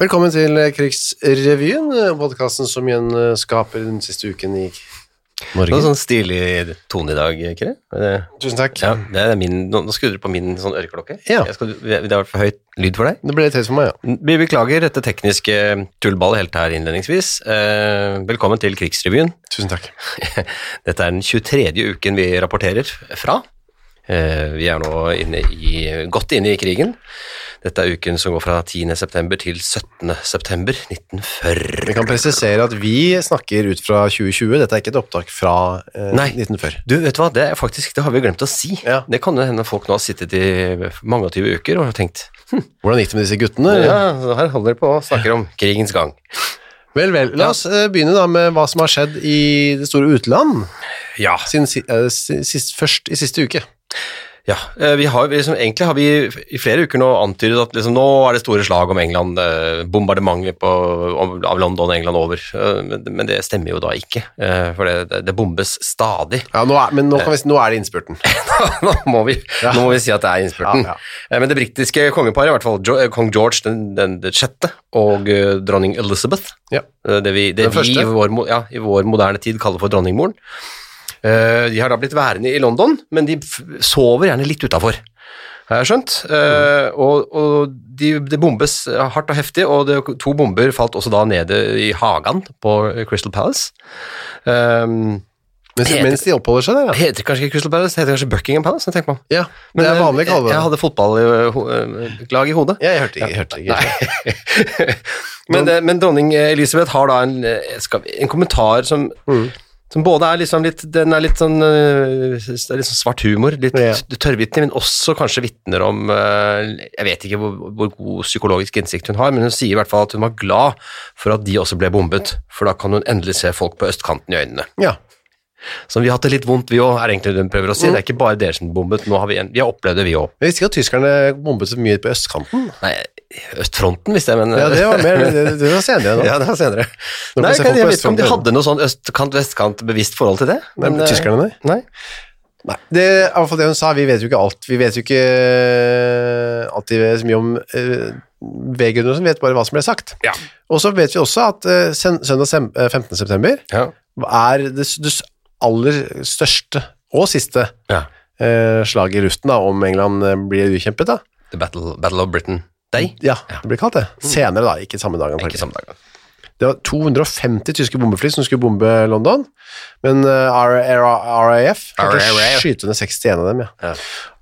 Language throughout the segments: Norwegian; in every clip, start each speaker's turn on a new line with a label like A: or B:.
A: Velkommen til Krigsrevyen, podkasten som gjenskaper den siste uken i
B: Det var
A: Norge.
B: sånn stilig tone i dag, Kyrre. Er det-
A: Tusen takk.
B: Ja, det er min, nå nå skrudde du på min sånn øreklokke.
A: Ja.
B: Jeg skal, det har vært for høyt lyd for deg.
A: Det ble litt høyt for meg, ja.
B: Vi beklager dette tekniske eh, tullballet helt her innledningsvis. Eh, velkommen til Krigsrevyen.
A: Tusen takk.
B: Dette er den 23. uken vi rapporterer fra. Eh, vi er nå inne i, godt inne i krigen. Dette er uken som går fra 10. september til 17. september 1940.
A: Vi kan presisere at vi snakker ut fra 2020. Dette er ikke et opptak fra eh,
B: Nei.
A: 1940.
B: Du, vet du hva, det er faktisk, det har vi glemt å si.
A: Ja.
B: Det kan jo hende folk nå har sittet i mange og tyve uker og har tenkt
A: Hvordan gikk det med disse guttene?
B: Ja, så her holder dere på og snakker om krigens gang.
A: Vel, vel. La oss eh, begynne da med hva som har skjedd i det store utland
B: Ja.
A: siden, si- eh, si- sist, først i siste uke.
B: ja eh, vi har, vi liksom, egentlig har vi i flere uker nå antydet at liksom, nå er det store slag om England, eh, bombardementet på, om, av London og England over. Eh, men, men det stemmer jo da ikke, eh, for det, det, det bombes stadig.
A: Ja, nå er, men nå, kan vi, si- nå er det innspurten.
B: nå, må vi, nå må vi si at det er innspurten.
A: Ja,
B: Eh, Men det britiske kongeparet, i hvert fall Jo- eh, kong George den, den, den sjette og eh, dronning Elizabeth,
A: Ja.
B: eh, det vi, det
A: Den
B: vi
A: første.
B: i, vår, mo- ja, i vår moderne tid kaller for dronningmoren, eh, de har da blitt værende i London, men de f sover gjerne litt utafor. Har jeg skjønt. Eh, og og de, det bombes hardt og heftig, og det, to bomber falt også da nede i hagen på Crystal Palace. Um,
A: Mens,
B: Heter-
A: mens de oppholder seg der, ja.
B: heter kanskje ikke Crystal Palace, det heter kanskje Buckingham Palace? jeg tenker meg om.
A: ja. Men det er vanlig å
B: eh, jeg,
A: kalle det
B: jeg hadde fotballag eh, i hodet.
A: Ja, jeg hørte ikke. Jeg hørte ikke.
B: men, eh, men dronning eh, Elisabeth har da en, eh, skal, vi- en kommentar som,
A: Mm.
B: som både er liksom litt Den er litt sånn eh, det er litt sånn svart humor, litt
A: Ja.
B: tørrvittig, men også kanskje vitner om eh, Jeg vet ikke hvor, hvor god psykologisk innsikt hun har, men hun sier i hvert fall at hun var glad for at de også ble bombet, for da kan hun endelig se folk på østkanten i øynene.
A: Ja.
B: Så vi har hatt det litt vondt, vi òg, er egentlig det hun prøver
A: Mm.
B: å si. Det er ikke bare dere som bombet, nå har vi, en, vi har opplevd det, vi òg.
A: Jeg visste ikke at tyskerne bombet så mye på østkanten.
B: Nei, østfronten visste jeg, men
A: Ja, det var mer, det, det var senere nå.
B: Ja, det var senere.
A: Nå
B: Nei,
A: må vi se
B: jeg,
A: folk på
B: kan- jeg vet ikke om de
A: østfronten.
B: hadde noe sånn østkant-vestkant-bevisst forhold til det.
A: Nei,
B: eh,
A: tyskerne, nei.
B: Nei.
A: Nei. Det er i hvert fall det hun sa. Vi vet jo ikke alt. Vi vet jo ikke alltid så mye om eh, VG-grunnen, som vet bare hva som ble sagt.
B: Ja.
A: Og så vet vi også at eh, sen- søndag sem- eh, 15. september
B: Ja.
A: er det, s- det s- aller største og siste
B: ja.
A: eh, slaget i luften, da, om England eh, blir ukjempet. da.
B: The Battle, Battle of Britain Day.
A: Ja, Mm. det blir kalt det. Senere, da. Ikke samme dag,
B: Ikke
A: antakelig.
B: samme dag.
A: Det var 250 tyske bombefly som skulle bombe London, men eh, RAF klarte å
B: RAF.
A: skyte ned 61 av dem, ja.
B: Ja.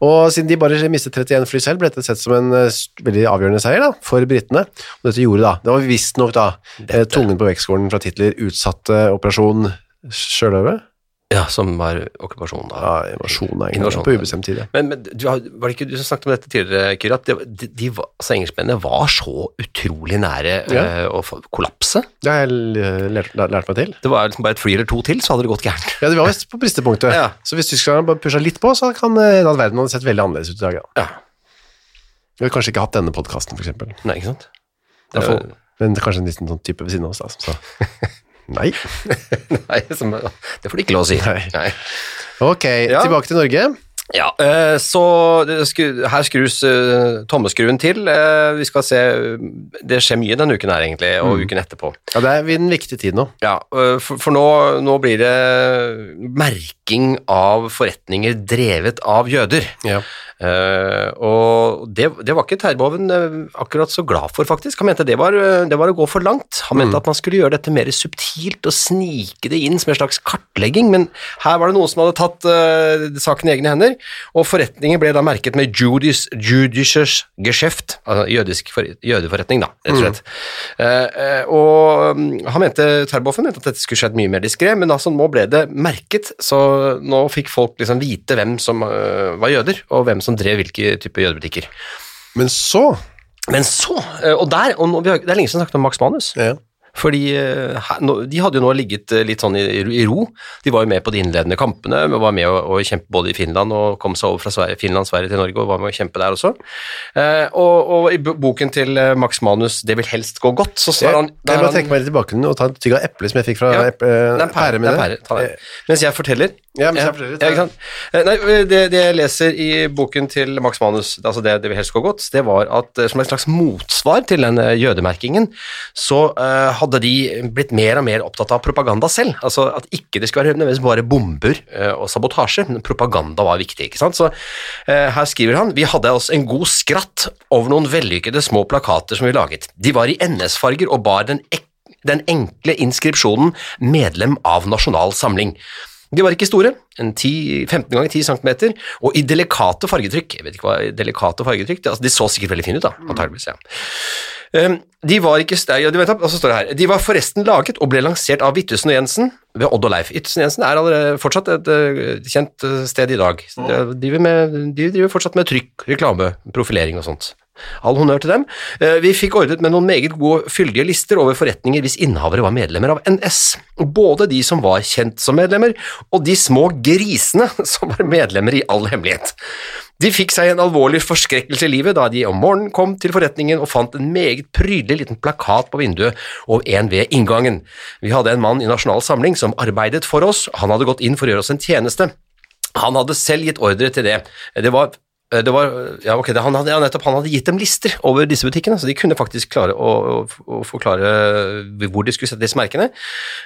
A: Og siden de bare mistet 31 fly selv, ble dette sett som en eh, s- veldig avgjørende seier da, for britene. Og dette gjorde da, det var visstnok da, eh, tungen på vektskålen fra titler utsatte operasjon Sjøløve.
B: Ja, som var okkupasjonen da.
A: Ja, invasjon er egentlig
B: Invasjon.
A: på ubestemt tid. ja.
B: Men, men du, har- var det ikke du som snakket om dette tidligere, Kyrre, at det, de, de, var- altså, engelskmennene var så utrolig nære
A: Ja.
B: eh, å få kollapse?
A: Det har jeg l- eh, lært, lært meg til.
B: Det var liksom bare et fly eller to til, så hadde det gått gærent.
A: Ja, det var vist på bristepunktet.
B: Ja.
A: Så hvis tyskerne bare pusha litt på, så kan eh, hende at verden hadde sett veldig annerledes ut i dag. da.
B: Ja.
A: Vi hadde kanskje ikke hatt denne podcasten, for eksempel.
B: Nei, ikke sant?
A: Det
B: var-
A: men det er kanskje en liten sånn type ved siden av oss, da, som sa nei.
B: Nei, som, det får du ikke lov å si.
A: Nei.
B: Nei.
A: Ok,
B: Ja.
A: tilbake til Norge.
B: Ja, eh, så det skru, her skrus eh, tommeskruen til. Eh, Vi skal se Det skjer mye denne uken her, egentlig, og uken etterpå.
A: Ja, det er vi den viktige tiden nå.
B: Ja, eh, For, for nå, nå blir det merking av forretninger drevet av jøder.
A: Ja.
B: Eh, og det, det var ikke Terboven eh, akkurat så glad for, faktisk. Han mente det var, eh, det var å gå for langt. Han mente at man skulle gjøre dette mer subtilt og snike det inn som en slags kartlegging, men her var det noen som hadde tatt eh, saken i egne hender, og forretningen ble da merket med Judis, Judisches Geschäft, altså jødisk for, jødeforretning, da, rett og slett. Eh, eh, og mm, han mente, Terboven mente at dette skulle skjedd mye mer diskré, men altså nå ble det merket, så nå fikk folk liksom vite hvem som øh, var jøder, og hvem som drev hvilke typer jødebutikker. eh,
A: Men så
B: Men så, øh, og der, og nå, vi har, det er lenge siden vi snakket om Max Manus,
A: ja.
B: Fordi eh, her, nå, De hadde jo nå ligget eh, litt sånn i, i ro. De var jo med på de innledende kampene, men var med å, å kjempe både i Finland og kom seg over fra Sverige, Finland Sverige til Norge og var med å kjempe der også. Eh, og, og i bo- boken til eh, Max Manus 'Det vil helst gå godt', så
A: Jeg,
B: er han, der
A: jeg må
B: er han-
A: trekke meg litt tilbake og ta en tygg av eple som jeg fikk fra
B: Ja,
A: eple, eh,
B: det er en pære, eh, det
A: mener
B: er
A: jeg.
B: pære. Ta den. Mens jeg forteller
A: Ja, mens jeg forteller, ta
B: ja, ikke sant? Eh, Nei, det, det jeg leser i boken til Max Manus, altså det, det vi helst går godt, det var at eh, som et slags motsvar til den eh, jødemerkingen, så eh, hadde de blitt mer og mer opptatt av propaganda selv. Altså at ikke det skulle være nødvendigvis bare bomber eh, og sabotasje, men propaganda var viktig. ikke sant? Så eh, her skriver han vi hadde oss en god skratt over noen vellykkede små plakater som vi laget. De var i NS-farger og bar den ekte den enkle inskripsjonen 'medlem av Nasjonal Samling'. De var ikke store, en 10, 15 ganger 10 cm, og i delikate fargetrykk. Jeg vet ikke hva delikate fargetrykk det, altså, De så sikkert veldig fine ut, da, antageligvis. Ja. Um, de var ikke st- ja, de, vent, opp, og så står det her. de var forresten laget og ble lansert av Vittusen og Jensen ved Odd og Leif. Vittusen og Jensen er allerede fortsatt et eh, kjent eh, sted i dag. Så De driver, med, de driver fortsatt med trykk, reklame, profilering og sånt. All honnør til dem. Eh, Vi fikk ordnet med noen meget gode, fyldige lister over forretninger hvis innehavere var medlemmer av NS. Både de som var kjent som medlemmer, og de små grisene som var medlemmer i all hemmelighet. De fikk seg en alvorlig forskrekkelse i livet da de om morgenen kom til forretningen og fant en meget prydelig liten plakat på vinduet og en ved inngangen. Vi hadde en mann i Nasjonal Samling som arbeidet for oss, han hadde gått inn for å gjøre oss en tjeneste. Han hadde selv gitt ordre til det. Det var det var, ja, ok, det, han, hadde, ja, nettopp, han hadde gitt dem lister over disse butikkene, så de kunne faktisk klare å, å, å forklare hvor de skulle sette disse merkene.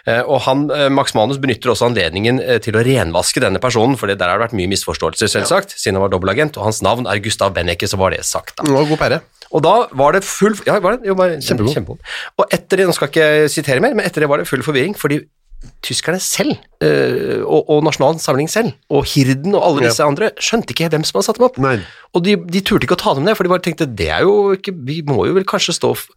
B: Eh, og han, eh, Max Manus benytter også anledningen eh, til å renvaske denne personen, for det der har det vært mye misforståelser, selvsagt, siden han var dobbeltagent, og hans navn er Gustav Benneke, så var det sagt. da.
A: Det var Eh, god pære.
B: Og da var det full Ja, var det? Jo, bare,
A: Kjempegod.
B: Og etter det, nå skal jeg ikke sitere mer, men etter det var det full forvirring, fordi tyskerne selv, eh, og, og Nasjonal Samling selv, og Hirden og alle
A: Ja.
B: disse andre, skjønte ikke hvem som hadde satt dem opp.
A: Nei.
B: Og de, de turte ikke å ta dem ned, for de bare tenkte det er jo ikke Vi må jo vel kanskje stå f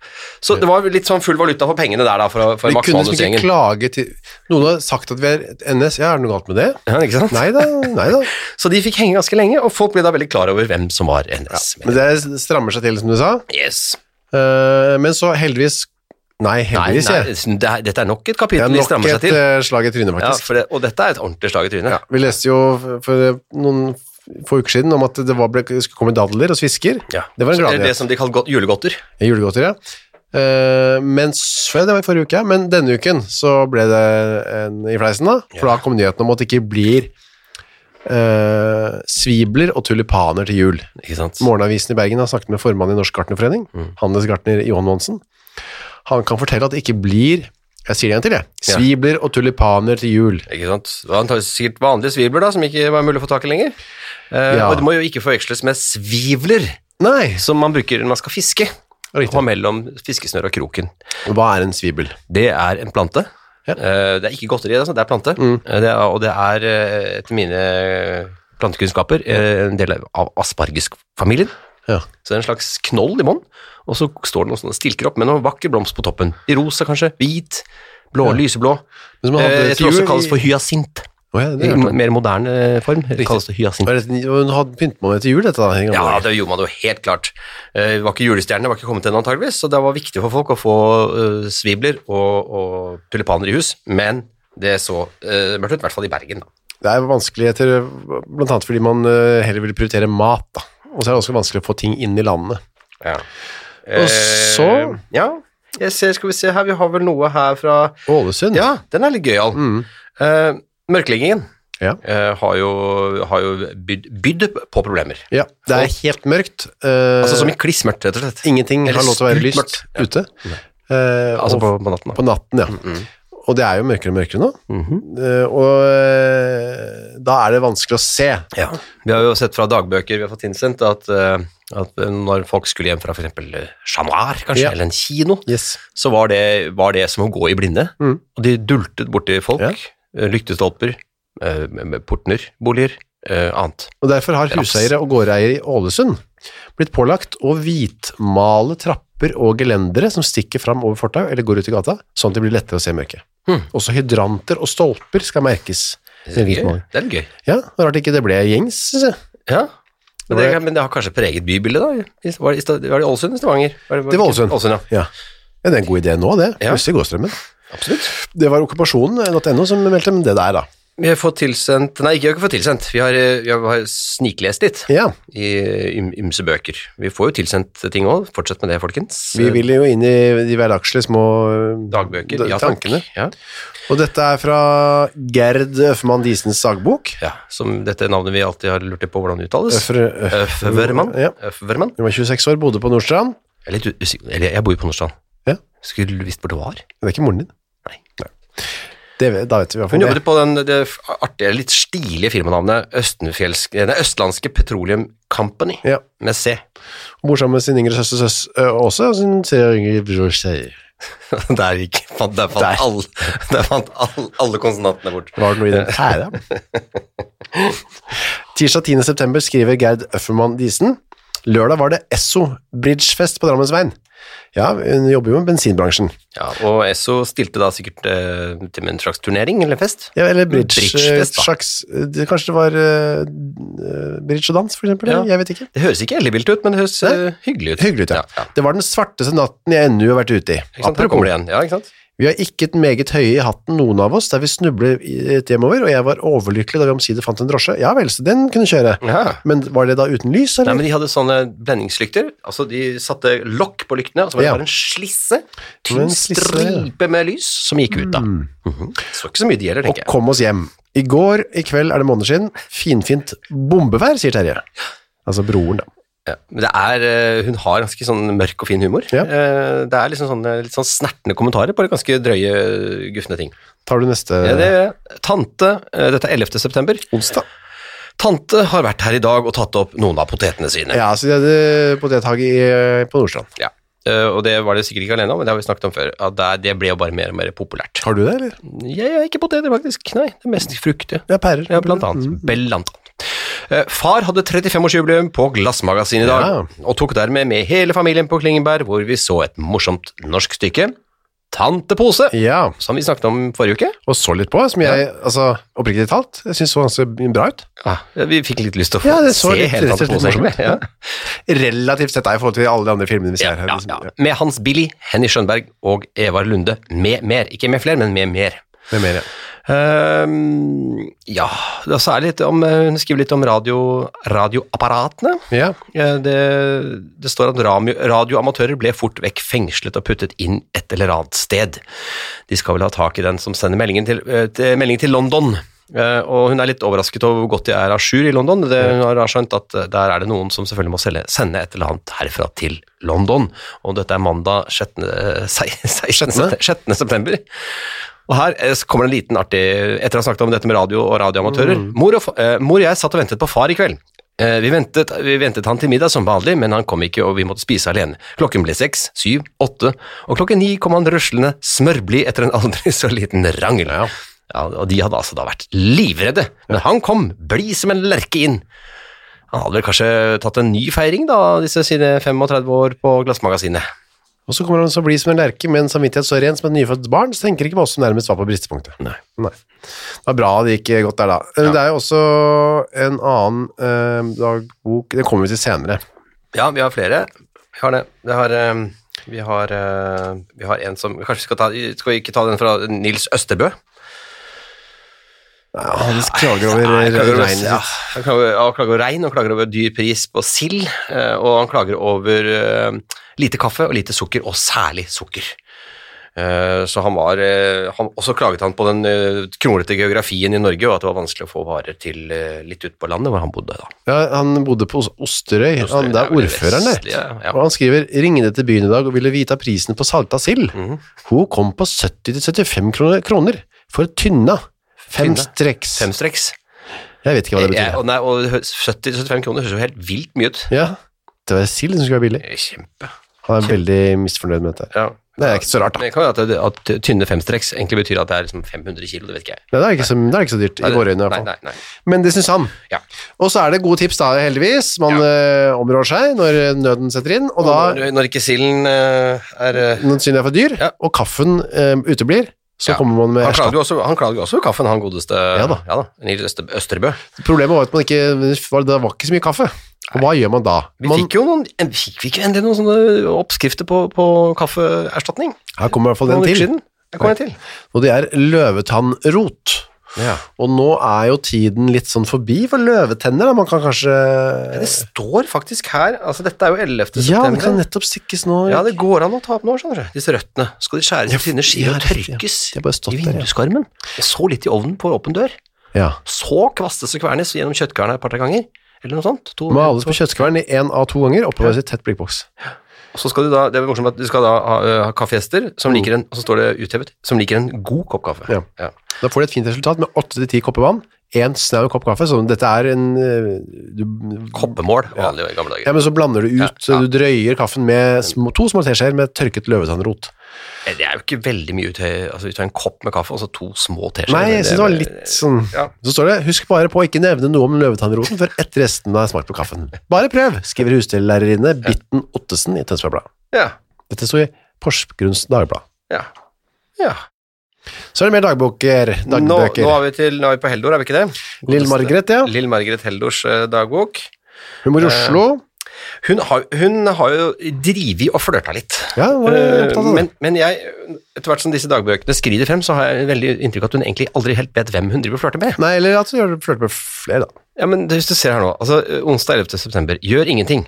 B: Så det var litt sånn full valuta for pengene der, da, for, for
A: Vi
B: Max
A: kunne liksom ikke
B: Manus-gjengen.
A: klage til Noen har sagt at vi er et NS. Ja, er det noe galt med det?
B: Ja, ikke sant?
A: Nei da, nei da.
B: Så de fikk henge ganske lenge, og folk ble da veldig klar over hvem som var NS.
A: Men det strammer seg til, som du sa.
B: E. yes.
A: Eh, Men så heldigvis Nei,
B: Nei,
A: heldigvis,
B: nei,
A: jeg.
B: det er, dette er nok
A: Det
B: et
A: er
B: kapittel de
A: nok
B: strammer
A: et
B: seg til.
A: eh, slag i trynet,
B: Ja,
A: faktisk.
B: for det, og dette er et ordentlig slag i trynet.
A: Vi leste jo for- for noen få uker siden om at det var, ble, skulle komme dadler og svisker.
B: Ja.
A: Det var en
B: Så
A: glad
B: det,
A: nyhet.
B: som de kaller godt- julegodter.
A: Julegodter, ja. Eh, men s- ja, det var i forrige uke, men denne uken så ble det en i fleisen, da. For da kom nyheten om at det ikke blir eh, svibler og tulipaner til jul.
B: Ikke sant?
A: Morgenavisen i Bergen har snakket med formannen i Norsk Gartnerforening,
B: Mm.
A: handelsgartner Johan Monsen. Han kan fortelle at det ikke blir jeg sier det igjen til, jeg.
B: Ja.
A: Svibler og tulipaner til jul.
B: Ikke sant? Det var antageligvis sikkert vanlige svibler da, som ikke var mulig å få tak i lenger. Eh,
A: Ja.
B: Og det må jo ikke forveksles med svivler,
A: Nei!
B: som man bruker når man skal fiske.
A: Riktig.
B: Og mellom fiskesnør og kroken.
A: Hva er en svibel?
B: Det er en plante.
A: Ja.
B: Eh, Det er ikke godteri, altså, det er plante. Eh, Det er, og det er, eh, etter mine plantekunnskaper, eh, en del av aspargesfamilien.
A: Ja.
B: Så det er en slags knoll i bånn, og så står det noen sånne stilker opp med noen vakker blomst på toppen. I rosa kanskje, hvit, blå, lyseblå.
A: Men som han hadde
B: Eh, Jeg
A: til
B: tror også
A: jul
B: det kalles
A: i-
B: for hyasint.
A: Å ja, det
B: I
A: er rart.
B: mer moderne eh, form kalles det hyasint.
A: Var det- Hun hadde pynt med det til jul, dette da. i gamle
B: Mm. Ja,
A: dager.
B: det gjorde man jo helt klart. Eh, Det var ikke julestjerne, det var ikke kommet ennå antageligvis, så det var viktig for folk å få eh, svibler og, og tulipaner i hus, men det så eh, mørkt ut, i hvert fall i Bergen. Da.
A: Det er vanskeligheter, blant annet fordi man eh, heller vil prioritere mat, da. Og så er det også vanskelig å få ting inn i landet.
B: Eh,
A: så-
B: Ja, jeg ser, skal vi se her, vi har vel noe her fra
A: Ålesund?
B: Ja, den er litt gøyal.
A: Mm.
B: Eh, mørkleggingen
A: Ja.
B: eh, har jo, har jo bydd, bydd på problemer.
A: Ja, Det er helt mørkt. eh,
B: Altså som i klissmørkt, rett og slett.
A: ingenting
B: Eller
A: har lov til å være lyst
B: sprutmørkt. Ja. Mm.
A: ute. Eh,
B: Altså
A: og
B: på, på natten.
A: på
B: Da.
A: natten, ja. Og det er jo mørkere og mørkere nå. Eh, og eh, da er det vanskelig å se.
B: Ja, vi har jo sett fra dagbøker vi har fått innsendt at, eh, at når folk skulle hjem fra f.eks. Chat Noir, kanskje,
A: Ja.
B: eller en kino,
A: Yes.
B: så var det, var det som å gå i blinde.
A: Mm.
B: Og de dultet borti folk,
A: Ja.
B: eh, lyktestolper, eh, med- med portner, boliger, eh, annet.
A: Og derfor har
B: Raps.
A: huseiere og gårdeiere i Ålesund blitt pålagt å hvitmale trapper og gelendere som stikker fram over fortau eller går ut i gata, sånn at det blir lettere å se mørket.
B: Hmm.
A: Også hydranter og stolper skal merkes. med
B: Det er gøy.
A: hvitmaling.
B: Det er litt gøy.
A: Ja, det er rart ikke det ble gjengs, synes jeg.
B: Ja. Men
A: Det
B: det, men det har kanskje preget bybildet, da? i- Var det, i Sta- var det Ålesund eller Stavanger?
A: Det var Ålesund.
B: Ålesund ja.
A: Ja. Ja, det er en god idé nå, det.
B: Ja.
A: Plutselig går strømmen.
B: Absolutt.
A: Det var okkupasjonen.no som meldte om det der, da.
B: Vi har fått tilsendt Nei, ikke vi har ikke fått tilsendt. Vi har, eh, vi har- vi har sniklest litt
A: Ja,
B: i ym- ymse bøker. Vi får jo tilsendt ting òg. Fortsett med det, folkens.
A: vi vil jo inn i de hverdagslige små eh,
B: Dagbøker.
A: d-
B: Ja, takk.
A: tankene.
B: Ja.
A: Og dette er fra Gerd Øfman Diesens dagbok.
B: ja. Som dette navnet vi alltid har lurt litt på hvordan det uttales.
A: Øfre, Øf-
B: Øfvermann.
A: Ja.
B: Øfvermann.
A: Hun var 26 år, bodde på Nordstrand.
B: Jeg er litt usikker Eller, jeg bor jo på Nordstrand.
A: Ja.
B: Skulle visst hvor det var.
A: Det er ikke moren din.
B: Nei.
A: Det, vet- da vet vi i hvert
B: Hun
A: fall
B: jobbet
A: det.
B: på den, det artige, litt stilige firmanavnet Østenfjells- nei, Østlandske Petroleum Company,
A: Ja.
B: med C.
A: Hun bor sammen med sin yngre søster søs, ø, Åse og sin tre yngre bror Sei.
B: Der gikk fant, der fant,
A: Der.
B: Alle, der fant all, alle konsonantene bort.
A: Var det noe i den her, ja? Tirsdag 10. september skriver Gerd Øffermann Disen. Lørdag var det Esso Bridgefest på Drammensveien. Ja, hun jobber jo med bensinbransjen.
B: Ja, og Esso stilte da sikkert eh, til med en slags turnering eller fest.
A: Ja, eller bridge,
B: Bridgefest, da.
A: slags, det, kanskje det var ø, ø, bridge og dans, for eksempel?
B: Ja.
A: Jeg vet ikke.
B: Det høres ikke ellevilt ut, men det høres eh, hyggelig ut.
A: Hyggelig ut, ja.
B: Ja, ja.
A: Det var den svarteste natten jeg ennå har vært ute i.
B: Ikke sant? Her kommer det igjen. Ja, ikke sant?
A: Vi har ikke et meget høye i hatten, noen av oss, der vi snubler i- hjemover, og jeg var overlykkelig da vi omsider fant en drosje. Ja vel, så den kunne kjøre.
B: Ja.
A: Men var det da uten lys,
B: Nei,
A: eller?
B: men De hadde sånne blendingslykter. altså De satte lokk på lyktene, og så var det
A: Ja.
B: bare en slisse,
A: var
B: tynn
A: en slisse, ja. Mm.
B: stripe med lys, som gikk ut da. Mhm. Så ikke så mye det gjelder,
A: og
B: tenker jeg.
A: kom oss hjem. I går, i kveld er det måneder siden, finfint bombevær, sier Terje. Altså broren, da.
B: Ja, men det er, eh, hun har ganske sånn mørk og fin humor.
A: Ja.
B: Eh, Det er liksom sånne, litt sånn snertne kommentarer på ganske drøye, gufne ting.
A: Tar du neste
B: Ja, det, tante, eh, dette er 11. september.
A: onsdag?
B: Tante har vært her i dag og tatt opp noen av potetene sine.
A: Ja, så de hadde potethage i- på Nordstrand.
B: Ja. Eh, Og det var det sikkert ikke alene om, men det har vi snakket om før. At det, er- det ble jo bare mer og mer populært.
A: Har du det, eller?
B: Jeg er ikke poteter, faktisk. Nei, det er mest frukt, ja.
A: Ja, pærer.
B: Ja, blant annet.
A: Mm.
B: Blant annet. Eh, Far hadde 35-årsjubileum på Glassmagasin i dag, og tok dermed med hele familien på Klingenberg, hvor vi så et morsomt norsk stykke, Tantepose,
A: Ja,
B: som vi snakket om forrige uke.
A: og så litt på, som jeg, altså, oppriktig talt, jeg synes så ganske bra ut.
B: Ja, vi fikk litt lyst til å få
A: Ja, det så
B: se
A: litt-
B: hele
A: rett og slett
B: Tantepose.
A: morsomt ut,
B: Ja.
A: Relativt sett, da, i forhold til alle de andre filmene vi ser
B: Ja,
A: her.
B: ja,
A: liksom.
B: ja. Med Hans Billy, Henny Skjønberg og Evar Lunde, med mer. Ikke med flere, men med mer.
A: Med mer, ja.
B: Ehm, ja, da så er det litt om, eh, hun skriver litt om radio, radioapparatene.
A: Ja,
B: Eh, Det, det står at ramio- radioamatører ble fort vekk fengslet og puttet inn et eller annet sted. De skal vel ha tak i den som sender meldingen til, eh, til, melding til London. Eh, Og hun er litt overrasket over hvor godt de er à jour i London. Det, hun har skjønt at eh, der er det noen som selvfølgelig må selge, sende et eller annet herfra til London. Og dette er mandag 16. eh, sei- 16.
A: Sjettende?
B: septe- 16. september. Og her eh, så kommer det en liten artig Etter å ha snakket om dette med radio og radioamatører. Mor, og, fa- eh, mor og jeg satt og ventet på far i kveld. Eh, vi, ventet, vi ventet han til middag som vanlig, men han kom ikke, og vi måtte spise alene. Klokken ble seks, syv, åtte, og klokken ni kom han ruslende smørblid etter en aldri så liten rangel. Ja. og de hadde altså da vært livredde, men han kom, blid som en lerke inn. Han hadde vel kanskje tatt en ny feiring, da, disse sine 35 år på Glassmagasinet.
A: og så kommer han så blid som en lerke, med en samvittighet så ren som et nyfødt barn, så tenker ikke på oss som nærmest var på bristepunktet.
B: Nei.
A: Det var bra det gikk godt der da. Eh, Men Det er jo også en annen eh, dagbok, det kommer vi til senere.
B: Ja, vi har flere. Vi har det. Vi har, eh, vi har, eh, vi har en som Kanskje vi skal ta Skal vi ikke ta den fra Nils Østerbø?
A: Ja, han klager over
B: Nei, klager over-
A: regnet sitt.
B: ja, Han klager, ja, han klager over regn, og klager over dyr pris på sild, eh, og han klager over eh, lite kaffe og lite sukker, og særlig sukker. Eh, Så han var eh, han, Og så klaget han på den eh, kronglete geografien i Norge, og at det var vanskelig å få varer til eh, litt ut på landet, hvor han bodde da.
A: Ja, han bodde på Os- Osterøy, han, det
B: ja,
A: er
B: eller
A: ordføreren der.
B: vestlig, ja, ja.
A: Og han skriver, ringende til byen i dag og ville vite av prisen på salta sild. Hun kom på 70-75 kroner, kroner for tynna. Fem
B: Tynna?
A: streks.
B: Femstreks.
A: Jeg vet ikke hva det betyr.
B: Ja, Eh, og nei, og 70-75 kroner høres jo helt vilt mye ut.
A: Ja, det var sild som skulle være billig.
B: Eh, Kjempe.
A: Han er veldig misfornøyd med dette. her.
B: Ja.
A: Det er ikke så rart da.
B: Men det kan jo at, det- at tynne femstreks egentlig betyr at det er liksom 500 kilo, det vet ikke jeg.
A: Nei, det er ikke så, det er ikke så dyrt i våre øyne i hvert
B: Nei,
A: fall.
B: nei, nei.
A: Men det syns han.
B: Ja.
A: Og så er det gode tips, da, heldigvis. Man eh, områr seg når nøden setter inn, og da
B: når, når ikke silden eh, er eh,
A: når synet er for dyr,
B: Ja.
A: og kaffen eh, uteblir, så
B: Ja.
A: kommer man med
B: han klager,
A: erstatning.
B: jo også, han klager jo også over kaffen, han godeste
A: da.
B: Nils Øster, Østerbø.
A: Problemet var at man ikke, det var ikke så mye kaffe. Og hva gjør man da?
B: Vi
A: Man,
B: fikk jo noen, en- fikk vi ikke endelig noen sånne oppskrifter på, på kaffeerstatning?
A: her kommer i hvert fall
B: Noen
A: den
B: uker
A: til,
B: siden? Der kom jeg til.
A: og det er løvetannrot.
B: Ja.
A: Og nå er jo tiden litt sånn forbi for løvetenner, da. Man kan kanskje...
B: Det står faktisk her, altså dette er jo 11.
A: Ja, det kan
B: september.
A: nettopp stikkes nå.
B: Ja, det går an å ta opp nå, skjønner du. Disse røttene. Skal de skjæres
A: Ja,
B: i tynne skiver og
A: ja, riktig, ja.
B: tørkes
A: De har bare stått
B: i
A: der, ja.
B: vinduskarmen? Jeg så litt i ovnen på åpen dør.
A: Ja.
B: Så kvastes og kvernes gjennom kjøttkarene et par-tre ganger. Eller noe sånt. To,
A: Males på
B: to-
A: kjøttkvern i en av to ganger, oppbevares i tett blikkboks.
B: Og så skal du da, det er morsomt at du skal da ha, ø, ha kaffegjester som liker en, og så står det uthevet, som liker en god kopp kaffe.
A: Mm. Ja. Da får du et fint resultat med 8-10 kopper vann, en snau kopp kaffe, så dette er en... eh, Du,
B: Koppemål, vanlig i gamle
A: ja,
B: dager.
A: men så blander du ut,
B: Ja, ja.
A: du drøyer kaffen med små, to små teskjeer med tørket løvetannrot.
B: Det er jo ikke veldig mye uthøy, altså du tar en kopp med kaffe, og så to små teskjeer.
A: Nei, jeg synes det var litt sånn...
B: Ja.
A: Så står det, husk bare på å ikke nevne noe om løvetannroten før etter resten har smakt på kaffen. Bare prøv, skriver hustellærerinne Bitten Ottesen i Tønsberg Blad.
B: Ja,
A: Dette sto i Porsgrunns Dagblad.
B: ja. ja.
A: Så er det mer eh, dagbøker.
B: Nå, nå
A: dagbøker.
B: er vi til, nå er vi på Heldor, er vi ikke det?
A: Lill Margrethe, ja.
B: Lill Margret Heldors eh, dagbok.
A: Hun bor i
B: Eh,
A: Oslo.
B: Hun har, hun har jo drivet og flørta litt.
A: Ja, hun var
B: Eh,
A: opptatt av det.
B: Men, men jeg, etter hvert som disse dagbøkene skrider frem, så har jeg veldig inntrykk av at hun egentlig aldri helt vet hvem hun driver og flørter med.
A: Nei, eller at du gjør det flørte med flere, da.
B: Ja, men hvis du ser her nå, altså eh, onsdag 11. september, gjør ingenting.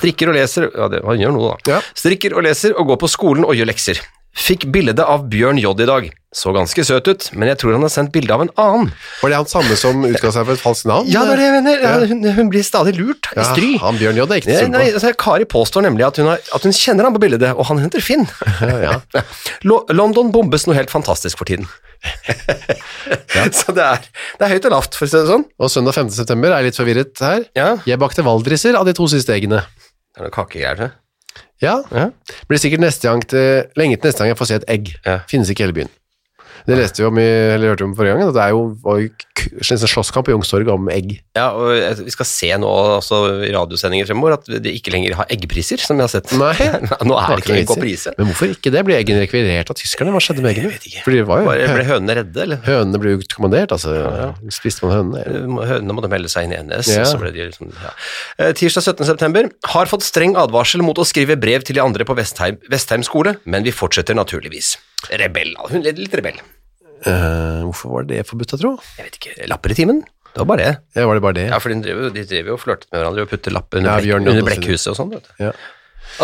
B: Strikker og leser, ja, det, han gjør noe da.
A: Ja.
B: Strikker og leser og går på skolen og gjør lekser. Fikk bildet av Bjørn J. i dag. Så ganske søt ut, men jeg tror han har sendt bilde av en annen.
A: Var det han samme som utga seg for et falskt navn?
B: Ja, det er det jeg mener. Ja,
A: Ja.
B: hun, hun blir stadig lurt i
A: Ja,
B: stry.
A: han Bjørn J. er ikke
B: Nei,
A: til
B: nei,
A: å stole på.
B: altså, Kari påstår nemlig at hun, har, at hun kjenner ham på bildet, og han heter Finn.
A: Ja.
B: Lo- London bombes noe helt fantastisk for tiden. Så det er, det er høyt og lavt, for å si det sånn.
A: Og søndag 5. september er jeg litt forvirret her.
B: Ja,
A: Jeg bakte valdriser av de to siste eggene.
B: det er noe kakegreier. tror jeg.
A: Ja,
B: Ja.
A: blir sikkert neste gang til, lenge til neste gang jeg får se et egg.
B: Ja.
A: Finnes ikke i hele byen. Det leste vi om i, eller hørte vi om forrige gang, at det er jo, var jo k- nesten slåsskamp i Youngstorget om egg.
B: Ja, og jeg- vi skal se nå altså, i radiosendinger fremover at de ikke lenger har eggpriser, som jeg har sett.
A: Nei.
B: nå er det ikke egg på prise.
A: Men hvorfor ikke det? Ble eggene rekvirert av tyskerne? Hva skjedde med eggene?
B: Jeg vet ikke.
A: Fordi det var jo,
B: Bare ble hønene redde, eller?
A: hønene ble jo kommandert, altså. Spiste man hønene?
B: Hønene måtte melde seg inn i NS.
A: Ja.
B: Så ble de liksom, ja. Eh, Tirsdag 17. september. Har fått streng advarsel mot å skrive brev til de andre på Vestheim, Vestheim skole, men vi fortsetter naturligvis. Rebell. Hun er litt rebell.
A: Eh, hvorfor var det forbudt, jeg tror?
B: Jeg vet ikke. Lapper i timen? Det var bare det.
A: Ja, var det bare det?
B: Ja, for de driver, jo- de driver jo og flørtet med hverandre og putter lapp under,
A: Ja,
B: blekk-
A: Bjørn Johnsen.
B: under blekkhuset og sånn. vet du.
A: Ja.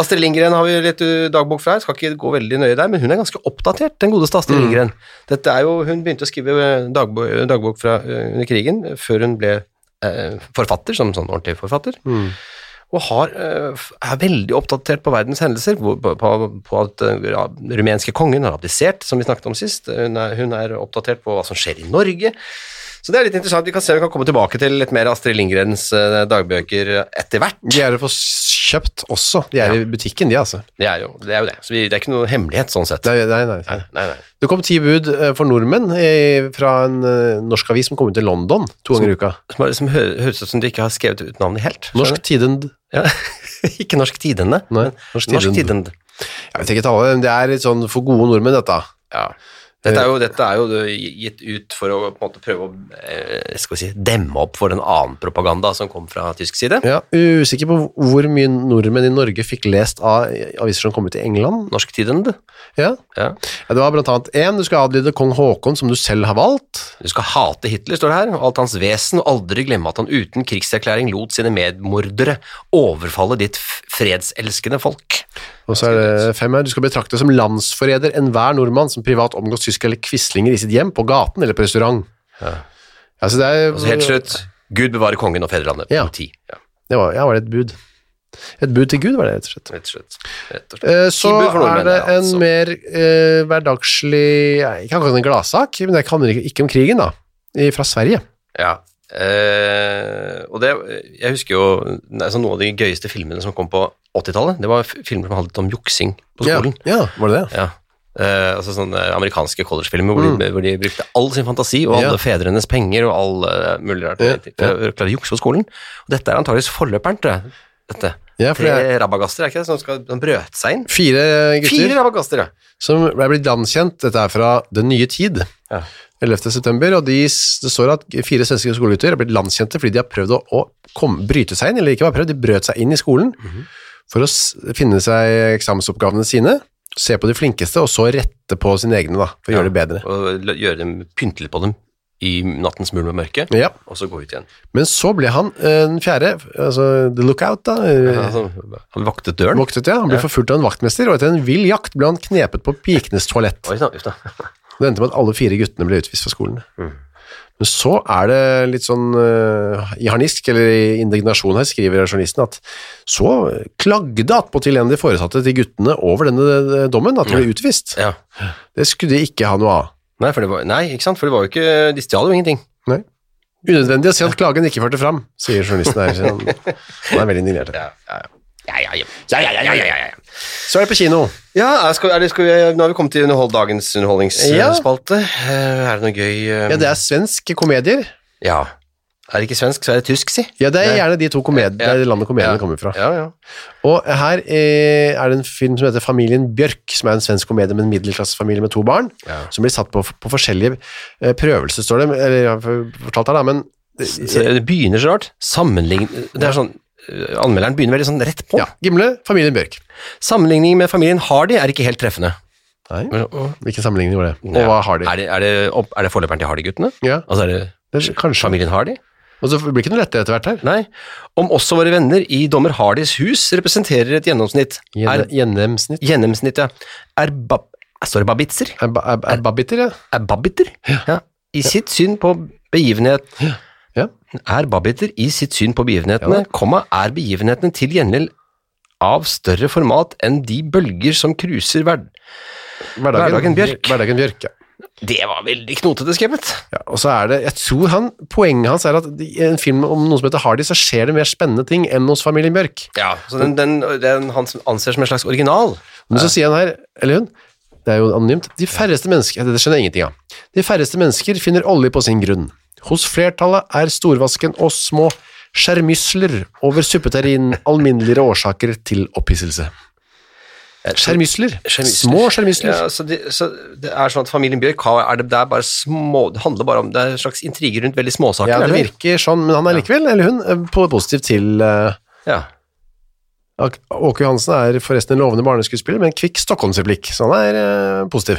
B: Astrid Lindgren har vi litt uh, dagbok fra her, skal ikke gå veldig nøye der, men hun er ganske oppdatert, den godeste Astrid
A: Mm.
B: Lindgren. Dette er jo, hun begynte å skrive uh, dagbok, uh, dagbok fra uh, under krigen, uh, før hun ble uh, forfatter, som sånn ordentlig forfatter,
A: Mm.
B: og har, uh, f- er veldig oppdatert på verdens hendelser, hvor- på, på, på at uh, ja, rumenske kongen har abdisert, som vi snakket om sist. Hun er, hun er oppdatert på hva som skjer i Norge, så det er litt interessant. Vi kan se om vi kan komme tilbake til litt mer Astrid Lindgrens eh, dagbøker etter hvert.
A: De er jo for kjøpt også. De er i butikken, de, altså.
B: Det er jo det. Er jo det. Så vi, det er ikke noe hemmelighet sånn sett.
A: Nei, nei, nei.
B: Nei, nei, nei.
A: Det kom ti bud eh, for nordmenn eh, fra en eh, norsk avis som kom ut i London to ganger i uka.
B: Som, er- som hø- høres ut som du ikke har skrevet ut navnet helt. skjønner
A: Norsk Tidend.
B: du? Ja. ikke Norsk Tidende.
A: Nei,
B: men
A: Norsk
B: Norsk
A: Tidend.
B: Tidende.
A: Jeg vet ikke tale, men det er litt sånn for gode nordmenn, dette.
B: Ja. Dette er, jo, dette er jo gitt ut for å på en måte prøve å eh, skal vi si, demme opp for en annen propaganda som kom fra tysk side.
A: Ja, usikker på hvor mye nordmenn i Norge fikk lest av aviser som kom ut i England.
B: Norsk Tidende.
A: Ja.
B: Ja.
A: Ja, det var blant annet én, du skal adlyde kong Haakon, som du selv har valgt.
B: Du skal hate Hitler, står det her, og alt hans vesen, og aldri glemme at han uten krigserklæring lot sine medmordere overfalle ditt f- fredselskende folk.
A: Og så er det fem her, du skal betrakte som landsforræder enhver nordmann som privat omgås tysk eller quislinger i sitt hjem, på gaten eller på restaurant. Ja, Altså, så det er,
B: Og så helt slutt, Gud bevare kongen og fedrelandet.
A: Ja.
B: Politi. Ja,
A: Det var, ja, var det et bud. Et bud til Gud, var det rett og slett.
B: rett og slett. Rett og slett.
A: Eh, Så
B: Tilbud for
A: er
B: nordmenn,
A: det en
B: altså.
A: mer eh, hverdagslig, ja, ikke akkurat en gladsak, men det handler ikke, ikke om krigen da, i- fra Sverige.
B: Ja. Eh, og det, jeg husker jo nei, så noen av de gøyeste filmene som kom på 80-tallet, det var f- filmer som handlet om juksing på skolen.
A: Ja, ja, var det det?
B: Ja. Eh, altså sånne amerikanske collegefilmer hvor, de, hvor de brukte all sin fantasi og alle
A: Ja.
B: fedrenes penger og all eh, mulig rart
A: Ja,
B: til å klare å jukse på skolen. Og dette er antageligvis forløperen til det, dette.
A: Ja, for
B: Tre
A: det er
B: rabagaster, er ikke det, som skal, de brøt seg inn?
A: fire gutter
B: Fire rabagaster, ja.
A: som ble blitt landkjent, dette er fra Den nye tid,
B: Ja.
A: 11. september, og de, s- det står at fire svenske skolegutter er blitt landskjente fordi de har prøvd å, å kom, bryte seg inn, eller ikke bare prøvd, de brøt seg inn i skolen for å s- finne seg eksamensoppgavene sine, se på de flinkeste, og så rette på sine egne da, for å gjøre det bedre.
B: Og la- gjøre dem pyntelig på dem i nattens mulm og mørke,
A: Ja,
B: og så gå ut igjen.
A: men så ble han eh, den fjerde, altså the lookout da, eh,
B: Altså, han vaktet døren.
A: voktet, ja. Han ble forfulgt av en vaktmester, og etter en vill jakt ble han knepet på pikenes toalett.
B: Oi, da, uff da.
A: Det endte med at alle fire guttene ble utvist fra skolen. Men så er det litt sånn eh, i harnisk, eller i indignasjon her, skriver journalisten, at så klagde attpåtil en av de foresatte til guttene over denne eh, dommen, at de ble utvist.
B: Ja.
A: Det skulle de ikke ha noe av.
B: Nei, for det var, nei, ikke sant? For det var jo ikke De stjal jo ingenting.
A: Nei. Unødvendig å si at klagen ikke førte fram, sier journalisten her. så Han, han er veldig indignert.
B: Ja, ja, ja. Ja, ja, ja, ja, ja, ja, ja, ja.
A: Så er det på kino.
B: Ja, er- skal, er det, skal vi, eh, nå har vi kommet til underhold, dagens
A: Ja.
B: underholdningsspalte. Eh, Er det noe gøy eh,
A: Ja, det er svensk komedier.
B: ja. Er det ikke svensk, så er det tysk, si.
A: Ja, det er gjerne de to komedier, det er det landet komediene kommer fra.
B: Ja, ja.
A: Og her eh, er det en film som heter Familien Bjørk, som er en svensk komedie med en middelklassefamilie med to barn,
B: Ja.
A: som blir satt på, på forskjellige eh, prøvelser, står det, eller jeg har fortalt her da, men
B: Så det begynner så rart. Sammenlign... Det er sånn eh, Anmelderen begynner veldig sånn rett på.
A: ja, Gimle, Familien Bjørk.
B: Sammenligning med familien Hardy er ikke helt treffende.
A: Nei,
B: Og
A: hvilken sammenligning var det? Og hva har de?
B: Er det, er det, opp- er det forløperen til Hardy-guttene?
A: Ja,
B: Altså er det
A: det er, kanskje.
B: familien Hardy?
A: Og så blir det ikke noe lettere etter hvert her.
B: Nei. Om også våre venner i dommer Hardys hus representerer et gjennomsnitt. Er
A: Gjen- Gjennomsnitt.
B: gjennomsnittet Er bab... Står det babitser?
A: Er, ba- er, er babbiter, ja.
B: Er babiter? Ja. I sitt syn på begivenhet
A: Ja.
B: Er babiter i sitt syn på begivenhetene, komma, er begivenhetene til gjengjeld av større format enn de bølger som cruiser hver... Hverdagen Bjørk.
A: Hverdagen Bjørk, ja.
B: Det var veldig knotete skrevet.
A: ja. Og så er det, jeg tror han, poenget hans er at i en film om noen som heter Hardy, så skjer det mer spennende ting enn hos Familien Bjørk.
B: Ja, så den, den, den han anser som en slags original.
A: Men så sier han her, eller hun, det er jo anonymt, de færreste mennesker, det skjønner jeg ingenting av, de færreste mennesker finner olje på sin grunn. Hos flertallet er storvasken og små skjermysler over suppeterrin alminneligere årsaker til opphisselse. Skjermysler?
B: Skjermysler.
A: Små skjermysler?
B: Ja, så, det, så det er sånn at familien Bjørk har, er det, det er bare små, det handler bare om det er en slags intriger rundt veldig småsaker.
A: Ja,
B: er
A: det
B: det vel?
A: virker sånn, men han er likevel, eller hun, eh, på- positiv til... eh,
B: Ja.
A: Ak- Åke Johansen er forresten en lovende barneskuespiller, med en kvikk Stockholmsreplikk, så han er eh, positiv.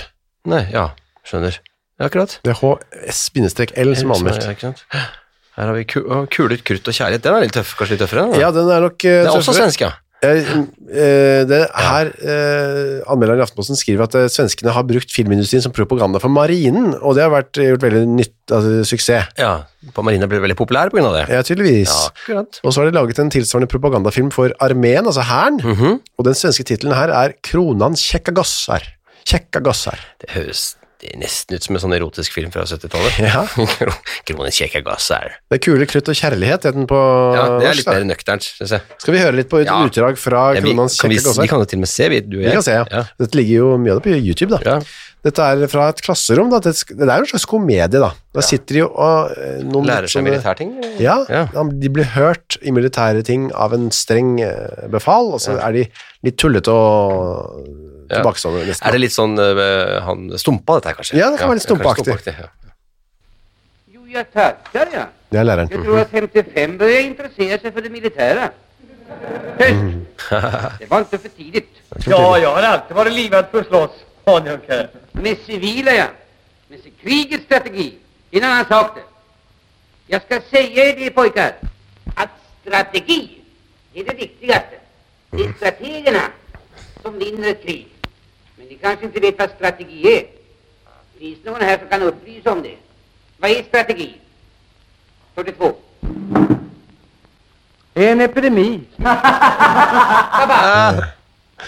B: Nei, ja, skjønner. Ja, akkurat.
A: Det er HS-L som er anmeldt.
B: Ja, ikke sant? Her har vi ku å, kuler, krutt og kjærlighet. Den er litt tøff, kanskje litt tøffere. den, da.
A: Ja, den er nok eh,
B: det er også
A: tøffere.
B: svensk, ja.
A: Jeg, eh, det, her eh, Anmelderen i Aftenposten skriver at eh, svenskene har brukt filmindustrien som propaganda for marinen, og det har vært, eh, gjort veldig nytt, altså, suksess.
B: ja. På Marina ble veldig populær på grunn av det.
A: Ja, tydeligvis.
B: Ja, akkurat.
A: Og så har de laget en tilsvarende propagandafilm for armeen, altså hæren,
B: Mhm.
A: og den svenske tittelen her er Kronan kjekka gossar. Kjekka gossar.
B: Det høres det er nesten ut som en sånn erotisk film fra 70-tallet.
A: Ja.
B: Kronen kjekke gass er
A: Det er kule krutt og kjærlighet, heter den på
B: Ja, det er
A: norsk,
B: litt
A: da.
B: mer nøkternt, synes jeg.
A: Skal vi høre litt på et
B: Ja.
A: utdrag fra
B: Ja, vi,
A: Kronans
B: kan vi,
A: kjekka
B: vi
A: gossar?
B: kan jo til og med se, vi, du og jeg.
A: Vi kan se, ja.
B: Ja.
A: Dette ligger jo mye av det på YouTube, da.
B: Ja.
A: Dette er fra et klasserom, da. Det det er jo en slags komedie, da. Da sitter de jo og eh, noen
B: Lærer seg
A: sånne-
B: militærting?
A: Ja,
B: Ja.
A: da- de blir hørt i militære ting av en streng eh, befal, og så er de litt tullete og
B: Ja.
A: tilbakestående nesten.
B: Er det litt sånn øh, han stumpa, dette her, kanskje?
A: Ja, det kan være litt
B: kanskje
A: stumpaaktig.
B: ja.
C: Jo, jag tackar ja.
A: Det er læreren.
B: Mm.
C: Jag tror att 55 började intressera sig för det militära. Höst. Det var inte för tidigt.
D: Ja, jag har alltid varit livad för att slåss, honjunker.
C: Med civila ja. Med si- krigets strategi. Det är en annan sak det. Jag ska säga er det pojkar. Att strategi är det viktigaste. Det är strategerna som vinner ett krig. Men ni kanske inte vet vad strategi är. Finns det någon här som kan upplysa om det? Vad är strategi? 42.
D: Det är en epidemi.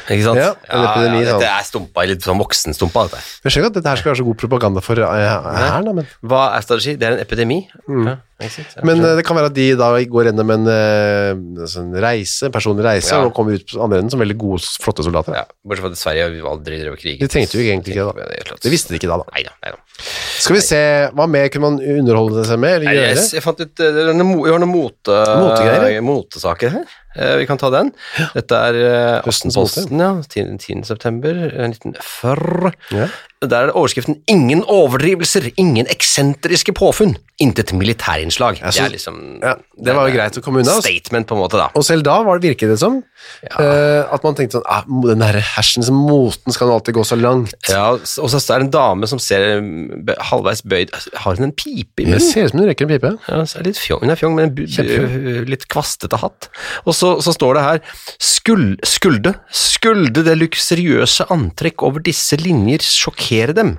B: Ikke sant?
A: Ja, en epidemi, sånn.
B: dette er stumpa, litt sånn voksenstumpa, dette.
A: Jeg skjønner ikke at dette her skal være så god propaganda for eh, hæren, da, men,
B: Hva er strategi? Det er en epidemi. Ja, ikke sant? Ja.
A: Mm. men eh, det kan være at de da går gjennom en eh, sånn reise, en personlig reise,
B: Ja.
A: og kommer ut på andre enden som veldig gode, flotte soldater.
B: ja, bortsett fra at Sverige har jo aldri drevet krig.
A: De trengte jo egentlig ikke det, da. Det visste de ikke da, da.
B: Neida, neida.
A: Skal vi se, hva mer kunne man underholde seg med?
B: Nei,
A: Eller gjøre?
B: Jeg, jeg fant ut, eh, det er noen mo- Vi har noen mote,
A: Motegreier, ja.
B: motesaker her. Eh, Vi kan ta den. Dette er eh,
A: Høstens
B: Aftenposten, ja. 10. 10. september eh, 1940.
A: Ja.
B: Der er det overskriften 'Ingen overdrivelser, ingen eksentriske påfunn'. Intet militærinnslag. Det
A: synes-
B: er liksom
A: ja, det var jo greit å komme unna, altså.
B: Statement, på en måte, da.
A: Og selv da var det virket det som
B: Ja.
A: eh, at man tenkte sånn, ah, mo- den der hersens moten skal nå alltid gå så langt.
B: Ja, s- og så er det en dame som ser mm, bø- halvveis bøyd Har hun en pipe i
A: Det
B: munnen?
A: ser ut som hun røyker en pipe.
B: Ja, så er det litt fjong, hun er fjong med en bu- bu- litt kvastete hatt. Og så, så står det her Skul, Skulde Skulde det luksuriøse antrekk over disse linjer sjokkere dem.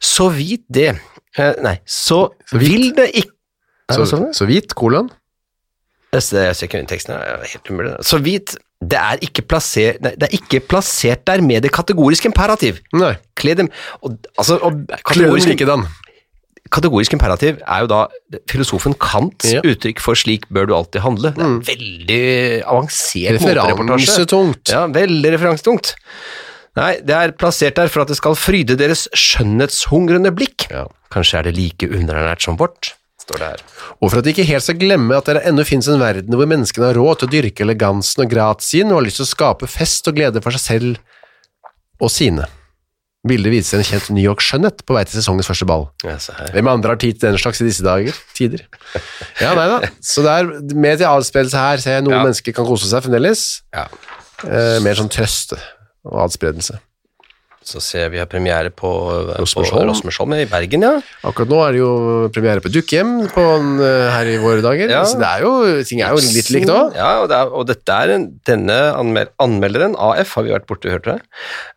B: Så vidt det eh, Nei, så, vil det ikke Er
A: Så,
B: det sånn?
A: så hvit, kolon.
B: Jeg ser jeg ser ikke under teksten, det er helt umulig. Så vidt det er, ikke plasser, nei, det er ikke plassert der med det kategoriske imperativ.
A: Nei,
B: Kle dem og, altså, og,
A: kolon
B: kategorisk-
A: likedan.
B: Kategorisk imperativ er jo da filosofen Kants
A: Ja.
B: uttrykk for 'slik bør du alltid handle'. Det er en veldig avansert motereportasje.
A: Referansetungt.
B: Ja, veldig referansetungt. Nei, det er plassert der for at det skal fryde deres skjønnhetshungrende blikk. Kanskje er det like underernært som vårt, står det her.
A: Og for at de ikke helt skal glemme at det ennå finnes en verden hvor menneskene har råd til å dyrke elegansen og gratien og har lyst til å skape fest og glede for seg selv og sine. Bildet viser en kjent New York-skjønnhet på vei til sesongens første ball.
B: Ja, se her.
A: Hvem andre har tid til den slags i disse dager? Tider. Ja, nei da. Så det er mer til avspredelse her, ser jeg noen
B: Ja.
A: mennesker kan kose seg fremdeles.
B: Ja.
A: Eh, mer sånn trøste og adspredelse.
B: Så ser vi har premiere på på
A: Rosmersholm.
B: Rosmersholm i Bergen, ja.
A: Akkurat nå er det jo premiere på Dukkehjem på en, eh, her i våre dager,
B: Ja.
A: så det er jo, ting er jo litt likt òg.
B: Ja, og, det er, og dette er en, denne anmel anmelderen, AF, har vi vært borte, hørte dere?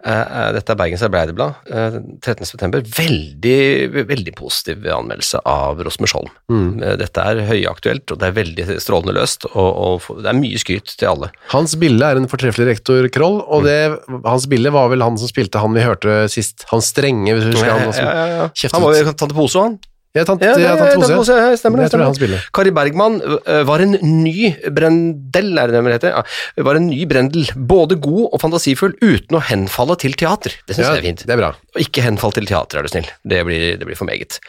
B: Eh, eh, dette er Bergens Arbeiderblad, eh, 13. september. Veldig, veldig positiv anmeldelse av Rosmersholm.
A: Mm.
B: Eh, dette er høyaktuelt, og det er veldig strålende løst, og, og få- det er mye skryt til alle.
A: Hans Bille er en fortreffelig rektor Kroll, og det, Hans Bille var vel han som spilte han vi hørte sist. Han strenge, hvis du husker han.
B: ja, ja, ja.
A: kjeftet.
B: Han var jo tante Pose, han.
A: Ja, tante,
B: Ja,
A: ja,
B: det-
A: tante Pose.
B: Tante Pose, ja, stemmer
A: Jeg tror
B: det,
A: det
B: stemmer.
A: er Hans Bille.
B: Kari Bergman ø, var en ny Brendel, er det det man heter? Ja, var en ny Brendel, både god og fantasifull, uten å henfalle til teater. Det syns
A: Ja,
B: jeg er fint.
A: det er bra.
B: Og ikke henfall til teater, er du snill. Det blir, det blir for meget.